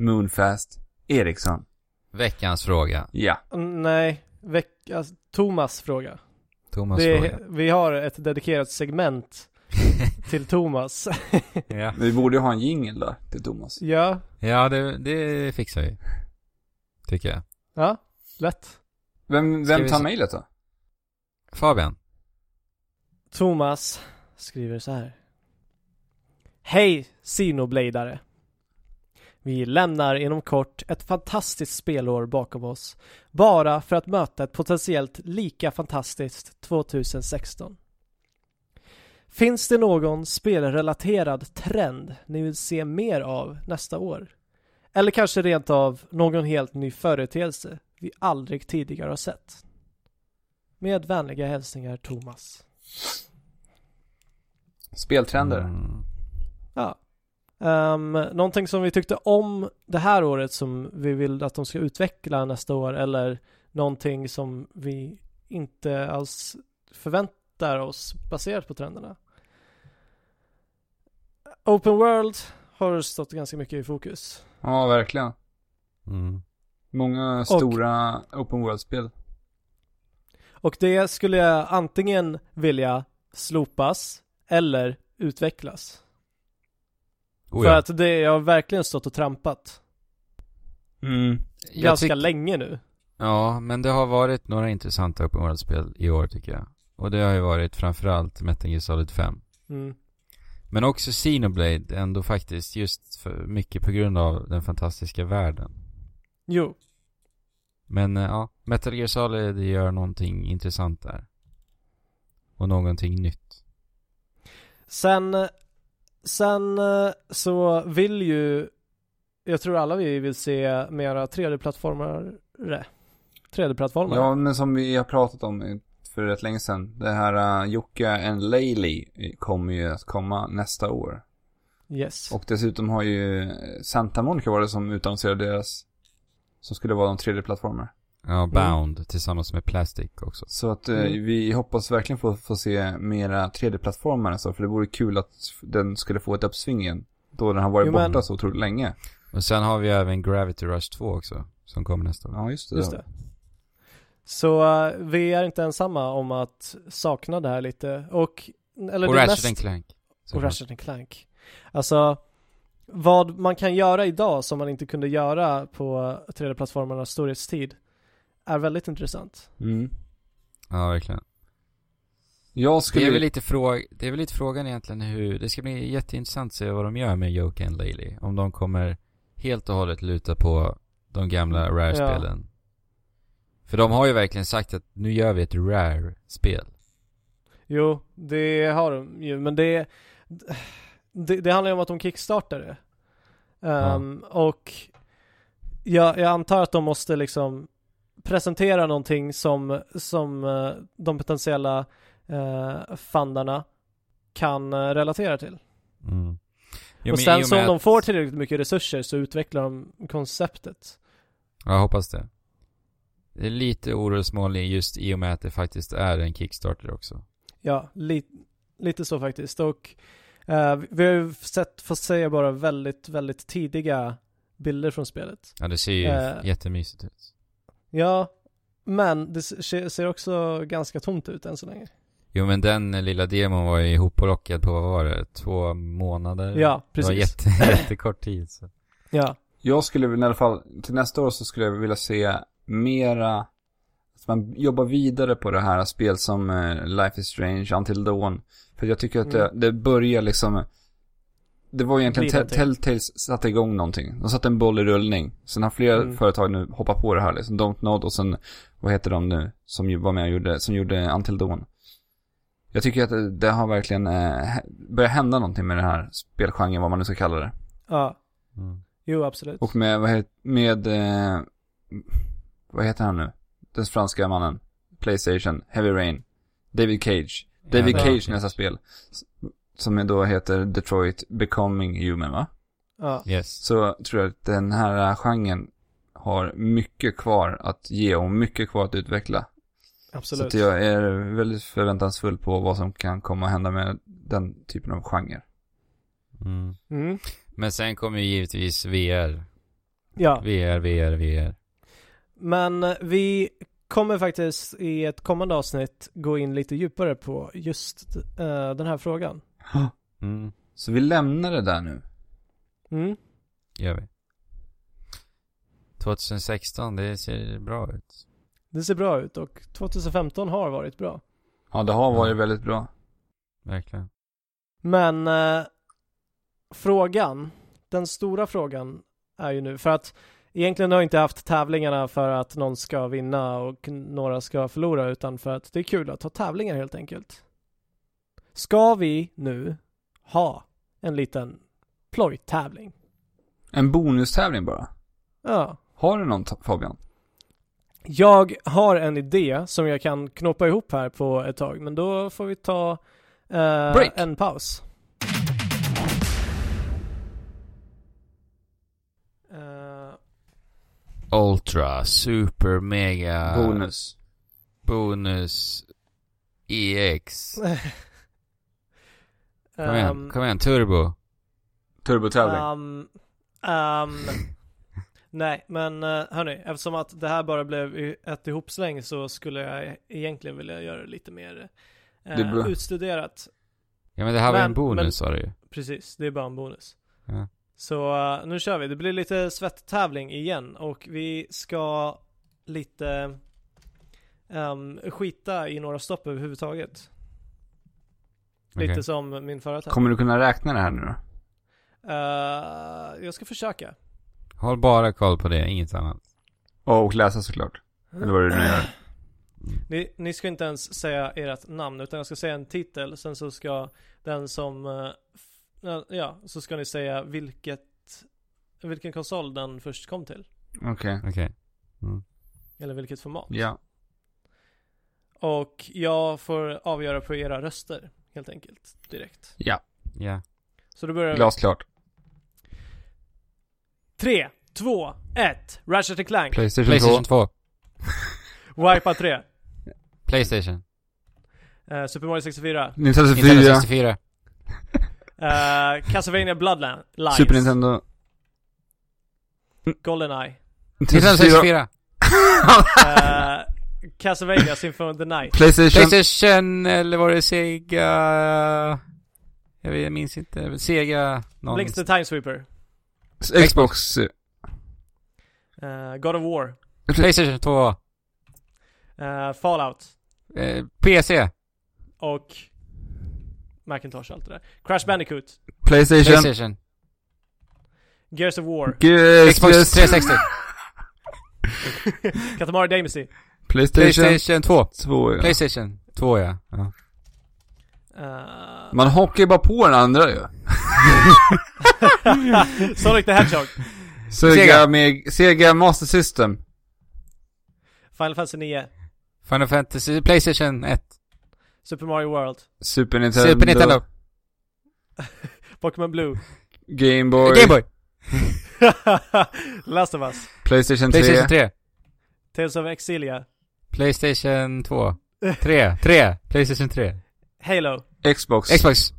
B: Moonfast Eriksson.
A: Veckans fråga.
B: Ja.
C: Mm, Nej, veckas... Thomas fråga.
A: Thomas
C: Det
A: fråga.
C: <laughs> är, vi har ett dedikerat segment till Thomas. <laughs>
A: ja.
B: Vi borde ju ha en jingle då till Thomas.
C: ja,
A: Ja, det, det fixar vi. Tycker jag.
C: ja, lätt.
B: Vem,
A: Ska
B: vem
A: vi
B: tar
A: se-
B: mejlet då?
A: Fabian.
C: Thomas skriver så här. Hej Sinobladare. Vi lämnar inom kort ett fantastiskt spelår bakom oss bara för att möta ett potentiellt lika fantastiskt 2016. Finns det någon spelrelaterad trend ni vill se mer av nästa år? Eller kanske rent av någon helt ny företeelse vi aldrig tidigare har sett? Med vänliga hälsningar Thomas.
B: Speltrender.
A: Mm.
C: Ja. Um, någonting som vi tyckte om det här året som vi vill att de ska utveckla nästa år eller någonting som vi inte alls förväntar oss baserat på trenderna. Open World har stått ganska mycket i fokus.
B: Ja, verkligen.
A: Mm.
B: Många stora open world-spel.
C: Och det skulle jag antingen vilja slopas eller utvecklas.
A: Oh,
C: För
A: ja.
C: att det jag har verkligen stått och trampat
B: Mm.
A: Jag
C: ganska
A: tyck-
C: länge nu.
A: Ja, men det har varit några intressanta open world-spel i år tycker jag. Och det har ju varit framförallt Metal Gear Solid 5.
C: Mm.
A: Men också Xenoblade ändå faktiskt, just för, mycket på grund av den fantastiska världen.
C: Jo,
A: Men eh, ja, Metal Gear Solid gör någonting intressant där. Och någonting nytt.
C: Sen, sen eh, så vill ju, jag tror alla vi vill se mera 3D-plattformare. 3D-plattformar.
B: Ja, men som vi har pratat om för rätt länge sedan. Det här uh, Jukka and Laylee kommer ju att komma nästa år.
C: Yes.
B: Och dessutom har ju eh, Santa Monica var det som utannonserade deras, som skulle vara de 3D-plattformar.
A: Ja, Bound tillsammans med Plastic också.
B: Så att eh,
C: Mm.
B: vi hoppas verkligen få, få se mera 3D-plattformar alltså, för det vore kul att den skulle få ett uppsving igen. Då den har varit
C: Jo,
B: borta
C: men-
B: så otroligt länge.
A: Och sen har vi även Gravity Rush 2 också, som kommer nästa år.
B: Ja, just det.
C: Just det. Så eh, vi är inte ensamma om att sakna det här lite. Och, eller
A: Och
C: det
A: Ratchet
C: mest-
A: and Clank.
C: och Ratchet and Clank. Alltså, vad man kan göra idag som man inte kunde göra på 3D-plattformarnas storhetstid är väldigt intressant.
B: Mm.
A: Ja, verkligen.
B: Jag
A: Det
B: skulle...
A: är, väl lite fråg- det är väl lite frågan egentligen hur, det ska bli jätteintressant att se vad de gör med Joke and Laley. Om de kommer helt och hållet luta på de gamla Rare-spelen. För de har ju verkligen sagt att nu gör vi ett Rare-spel.
C: Jo, det har de ju, men det, det, det handlar ju om att de kickstartar det. Ehm, Och jag, jag antar att de måste liksom presentera någonting som, som eh, de potentiella eh, fundarna kan eh, relatera till.
A: Mm. Jo,
C: och
A: men i
C: sen
A: och
C: så om
A: med
C: de
A: att-
C: får tillräckligt mycket resurser så utvecklar de konceptet.
A: Ja, jag hoppas det. Det är lite orosmoln i- just i och med att det faktiskt är en Kickstarter också.
C: Ja, li, lite så faktiskt. Och eh, vi har ju sett, får säga bara väldigt, väldigt tidiga bilder från spelet.
A: Ja, det ser ju
C: Eh.
A: jättemysigt ut.
C: Ja, men det se- ser också ganska tomt ut än så länge.
A: Jo, men den lilla demon var ju ihopplockad på, vad var det, två månader?
B: Mm.
C: Ja, precis.
A: Det var jätte, <laughs> jättekort tid så.
C: Ja,
B: Jag skulle väl i alla fall, till nästa år så skulle jag vilja se mera, att man jobbar vidare på det här spel som eh, Life is Strange, Until Dawn. För jag tycker att det, det börjar liksom... Det var egentligen
C: Blir
B: Tell-
C: någonting.
B: Telltales satte igång någonting. De satte en boll i rullning. Sen har flera
C: Mm.
B: företag nu hoppat på det här liksom. Dontnod och sen, vad heter de nu? Som ju var med och gjorde, som gjorde Until Dawn. Jag tycker att det- det har verkligen eh, börjat hända någonting med den här spelgenren, vad man nu ska kalla det.
C: Ja,
A: Mm.
C: jo absolut.
B: Och med, vad heter, med, eh, vad heter han nu? Den franska mannen. Playstation, Heavy Rain. David Cage. David
C: Ja,
B: Cage nästa spel. S- Som då heter Detroit Becoming Human va?
C: Ja.
A: Yes.
B: Så tror jag att den här eh, genren har mycket kvar att ge och mycket kvar att utveckla. Så
C: Absolut.
B: att jag är väldigt förväntansfull på vad som kan komma att hända med den typen av genre.
A: Mm.
C: Mm.
A: Men sen kommer ju givetvis VR.
C: Ja,
A: VR, VR, VR.
C: men eh, vi kommer faktiskt i ett kommande avsnitt gå in lite djupare på just eh, den här frågan.
A: Mm.
B: Så vi lämnar det där nu.
C: Mm.
A: Gör vi. 2016, det ser bra ut.
C: Det ser bra ut och 2015 har varit bra.
B: Ja, det har varit väldigt bra.
A: Verkligen.
C: Men eh, frågan, den stora frågan är ju nu, för att egentligen har jag inte haft tävlingarna för att någon ska vinna och några ska förlora, utan för att det är kul att ha tävlingar helt enkelt. Ska vi nu ha en liten plojtävling?
B: En bonustävling bara.
C: Ja.
B: Har du någon t- Fabian?
C: Jag har en idé som jag kan knåpa ihop här på ett tag, men då får vi ta eh,
B: Break.
C: en paus. Eh,
A: Ultra, super, mega.
B: Bonus.
A: Bonus.
C: <laughs>
A: EX. Kom igen,
C: Eh, ehm,
A: kom igen, turbo.
B: Turbotävling.
C: ehm, ehm, nej, men eh, hörni, eftersom att det här bara blev i- ett ihopsläng så skulle jag egentligen vilja göra det lite mer eh,
B: Det är bra.
C: utstuderat.
A: Ja men det här var ju en
C: Men-
A: bonus sa du ju.
C: Precis, det är bara en bonus.
A: Ja.
C: Så eh, nu kör vi. Det blir lite svetttävling igen och vi ska lite ehm, skita i några stopp överhuvudtaget. Lite
A: Okej.
C: som min förra tävling.
B: Kommer du kunna räkna det här nu då?
C: Eh, jag ska försöka.
A: Håll bara koll på det, inget annat.
B: Ja, Och läsa såklart. Eller vad du nu gör.
C: Ni, ni ska inte ens säga ert namn utan jag ska säga en titel sen så ska den som, eh, f- ja, så ska ni säga vilket, vilken konsol den först kom till.
B: Okej.
A: Okej.
C: Eller vilket format.
B: Ja.
A: Mm.
C: Och jag får avgöra på era röster helt enkelt direkt.
B: Ja.
A: Ja.
C: Så då börjar vi.
B: Glasklart.
C: 3, 2, 1. Ratchet Clank.
B: Playstation,
A: Playstation 2.
C: Wipa 3.
A: Playstation.
C: Eh, Super Mario 64.
B: Nintendo
A: Nintendo
B: 64.
A: 64.
C: Uh, Castlevania Bloodline. Lions.
B: Super Nintendo.
C: Goldeneye.
A: Nintendo
B: <laughs>
A: 64.
C: Eh, Castlevania Symphony of
B: <laughs>
C: the Night.
B: Playstation.
A: Playstation eller var det Sega? Jag vet- jag minns inte. Sega någon.
C: Blix the Timesweeper.
B: Xbox.
C: Uh, God of War.
A: Playstation 2.
C: Eh, Fallout.
A: Eh, PC.
C: Och Macintosh allt det där. Crash Bandicoot.
B: Playstation.
A: Playstation.
C: Gears of
B: <laughs>
C: War.
B: Ge-
A: Xbox 360.
C: Katamari Damacy.
B: <laughs>
A: <laughs>
B: Playstation.
A: Playstation 2.
B: 2 ja.
A: Playstation 2 ja. ja.
C: Eh,
B: Man hockar ju bara på den andra ju.
C: <laughs> Sonic the Hedgehog.
B: Sega,
A: Sega.
B: Meg- Sega Master System.
C: Final Fantasy 9.
A: Final Fantasy. Playstation 1.
C: Super Mario World.
B: Super Nintendo.
A: Super Nintendo.
C: Pokémon
B: <laughs>
C: Blue.
B: Game Boy.
A: Gameboy.
C: Last of Us.
B: Playstation 3.
A: Playstation 3.
C: Tales of Exilia.
A: Playstation 2. 3. 3. Playstation 3.
C: Halo.
B: Xbox. <laughs>
A: Xbox.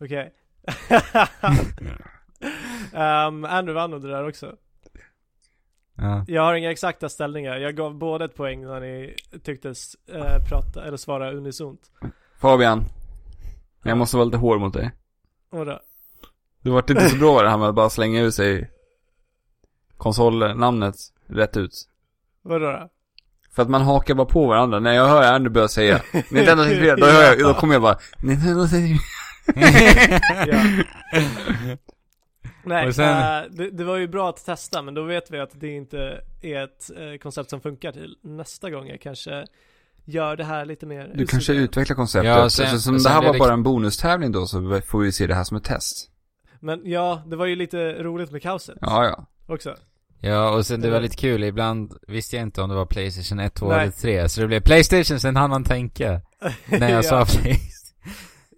C: Okej. um, Andrew vann nog det där också. <laughs>
A: Ja.
C: Jag har inga exakta ställningar. Jag gav båda ett poäng när ni tycktes eh, prata eller svara unisont.
B: Fabian. Jag måste vara lite hård mot dig.
C: Och då,
B: Det vart inte så bra det här med att bara slänga ur sig konsolnamnet rätt ut.
C: vadå då?
B: För att man hakar bara på varandra. När jag hör Andy börja säga Nintendo 64, då, hör jag, då kommer jag bara Nintendo 64.
A: <laughs>
B: <laughs>
C: Nej,
A: Och sen-
C: eh, det, det var ju bra att testa men då vet vi att det inte är ett eh, koncept som funkar till nästa gång jag kanske gör det här lite mer
B: Du kanske
C: utstuderat.
B: utvecklar konceptet.
A: Ja, sen-
B: Eftersom det
A: sen
B: här
A: blir
B: var
A: det-
B: bara en bonustävling då så får vi se det här som ett test.
C: Men ja, det var ju lite roligt med kaoset
B: Ja, ja.
C: också
A: Ja, och sen det var lite kul, ibland visste jag inte om det var Playstation 1, 2
C: Nej.
A: eller 3. Så det blev Playstation, sen hann man tänka när jag sa
C: <laughs> ja,
A: Playstation.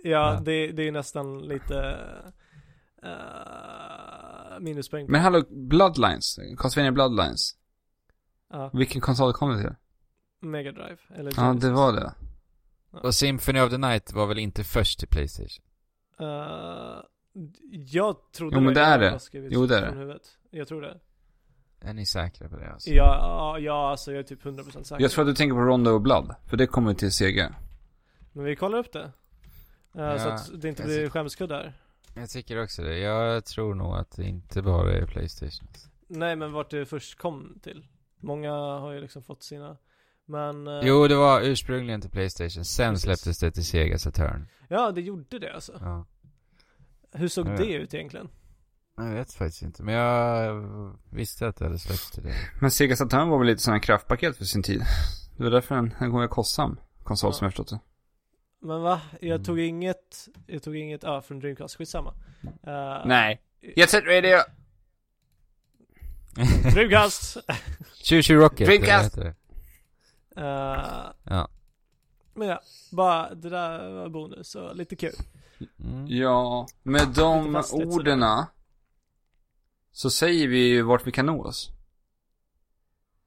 C: ja
A: Ja.
C: det, det är nästan lite eh, minuspoäng
B: Men hallå, Bloodlines. Castlevania Bloodlines.
C: Ja,
B: Vilken konsol kom det till?
C: Mega Drive eller
B: Ja, det var det.
A: Och Symphony of the Night var väl inte först till Playstation?
C: Eh, jag trodde
B: Jo, men det är det.
C: var skrivet
B: Jo, det är
C: från
B: det.
C: Huvudet. Jag tror det.
A: Är ni säkra på det alltså?
C: Ja, ja, ja, alltså jag är typ 100% säker.
B: Jag tror att du tänker på Rondo och Blood. För det kommer till CG.
C: Men vi kollar upp det. Eh, så
A: Ja,
C: att det inte
A: jag
C: blir
A: ser-
C: skämskuddar.
A: Jag tycker också det. Jag tror nog att det inte bara är Playstation.
C: Nej, men vart det först kom till. Många har ju liksom fått sina. Men... eh,
A: Jo, det var ursprungligen till Playstation. Sen
C: Precis.
A: släpptes det till Sega Saturn.
C: Ja, det gjorde det alltså.
A: Ja.
C: Hur såg
A: Ja.
C: det ut egentligen?
A: Jag vet faktiskt inte, men jag visste att det hade släppts till det. <laughs>
B: Men Sega Saturn var väl lite sån här kraftpaket för sin tid. Det var därför den, den var kostsam konsol
C: Ja.
B: som jag förstått det.
C: Men va? Jag
A: Mm.
C: tog inget, jag tog inget, ja ah, från Dreamcast, skitsamma. Uh,
B: Nej. Jet Set Radio!
C: Dreamcast!
A: Choo Choo Rocket, eller vad
B: Dreamcast!
A: heter det?
C: Eh,
A: Ja.
C: Men ja, bara det där var bonus och lite kul.
A: Mm.
B: Ja, med de
C: Lite festligt sådär.
B: orden så säger vi ju vart vi kan nå oss.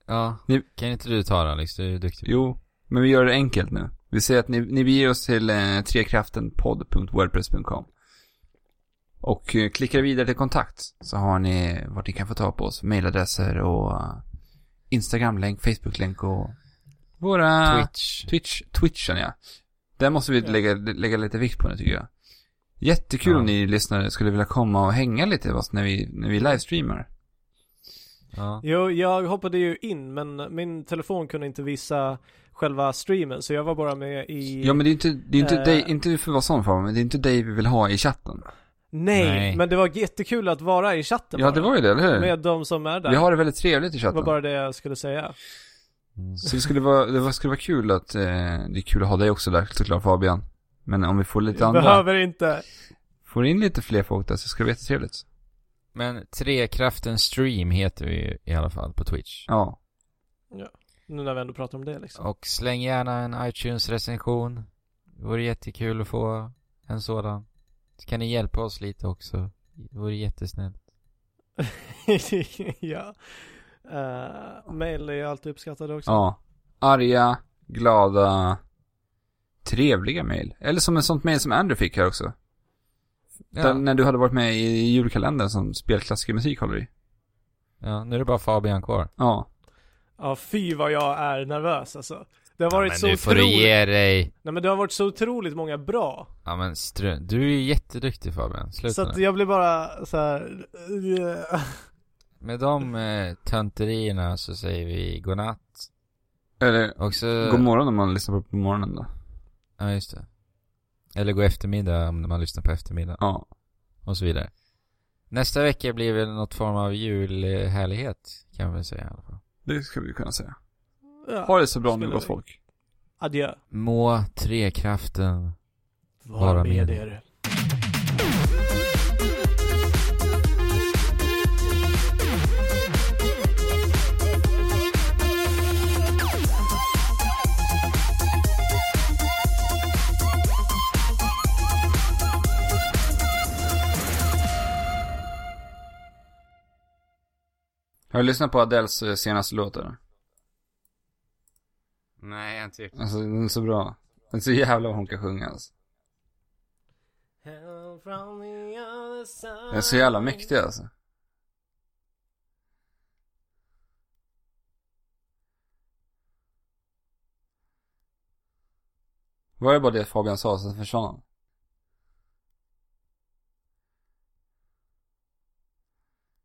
A: Ja.
B: Ni-
A: Kan inte du ta det Alex? Du är ju duktig.
B: Jo, men vi gör det enkelt nu. Vi säger att ni, ni beger oss till eh, trekraftenpodd.wordpress.com och eh, klickar vidare till kontakt så har ni vart ni kan få tag på oss. Mailadresser och eh, Instagramlänk, Facebooklänk och våra...
A: Twitch.
B: Twitch, Twitchen ja. Där måste vi
C: Ja.
B: lägga, lägga lite vikt på nu tycker jag. Jättekul
A: Ja.
B: om ni lyssnare skulle vilja komma och hänga lite med oss när vi, när vi livestreamar.
A: Ja.
C: Jo, jag hoppade ju in men min telefon kunde inte visa själva streamen så jag var bara med i...
B: Ja men det är inte, det är inte
C: Eh.
B: dig, inte för att vara sån form, men det är inte dig vi vill ha i chatten.
C: Nej,
A: Nej.
C: men det var jättekul att vara i chatten
B: Ja
C: bara,
B: det var ju det, eller hur?
C: Med de som är där.
B: Vi har det väldigt trevligt i
C: Det var
B: chatten.
C: bara det jag skulle säga.
A: Mm.
B: Så det skulle vara, det var, skulle vara kul att, eh, det är kul att ha dig också där såklart Fabian. Men om vi får lite andra,
C: Behöver inte.
B: får in lite fler folk där så ska det vara jättetrevligt.
A: Men Trekraften Stream heter vi ju i alla fall på Twitch.
B: Ja.
C: Nu när vi ändå pratar om det liksom.
A: Och släng gärna en iTunes-recension. Det vore jättekul att få en sådan. Så kan ni hjälpa oss lite också. Det vore jättesnällt.
C: <laughs> ja. Uh, mail är ju alltid uppskattade också.
B: Ja. Arga, glada, trevliga mejl. Eller som ett sånt mejl som Andrew fick här också. Där,
A: Ja,
B: när du hade varit med i julkalendern som spelklassiker musik håller i.
A: ja, nu är det bara Fabian kvar.
B: Ja.
C: Ja, fy vad jag är nervös alltså. Det har varit
A: ja, men
C: så
A: nu får du
C: otroligt...
A: ge dig.
C: Nej men det har varit så otroligt många bra.
A: Ja men strö... Du är ju jätteduktig Fabian. Sluta
C: Så att
A: nu.
C: jag blir bara så här. <laughs> eh,
A: Med de eh, tönterierna så säger vi godnatt.
B: Eller,
A: Och så...
B: god morgon om man lyssnar på på morgonen då.
A: Ja just det. Eller god eftermiddag om man lyssnar på eftermiddag.
B: Ja.
A: Och så vidare. Nästa vecka blir väl något form av julhärlighet. Kan vi väl säga i alla fall.
B: Det ska vi kunna säga. Ha
C: Ja.
B: det så bra nu
C: Skulle
B: gott
C: vi-
B: folk.
C: Adjö.
A: Må trekraften
C: Var
A: Vara
C: med
A: med.
C: er.
B: Har du lyssnat på Adels eh, senaste låt eller?
A: Nej, jag har inte gjort det.
B: Alltså den är så bra. Den är så jävla vad hon kan sjunga alltså. Den är så jävla mäktig alltså. Var det bara det Fabian sa, sen försvann han?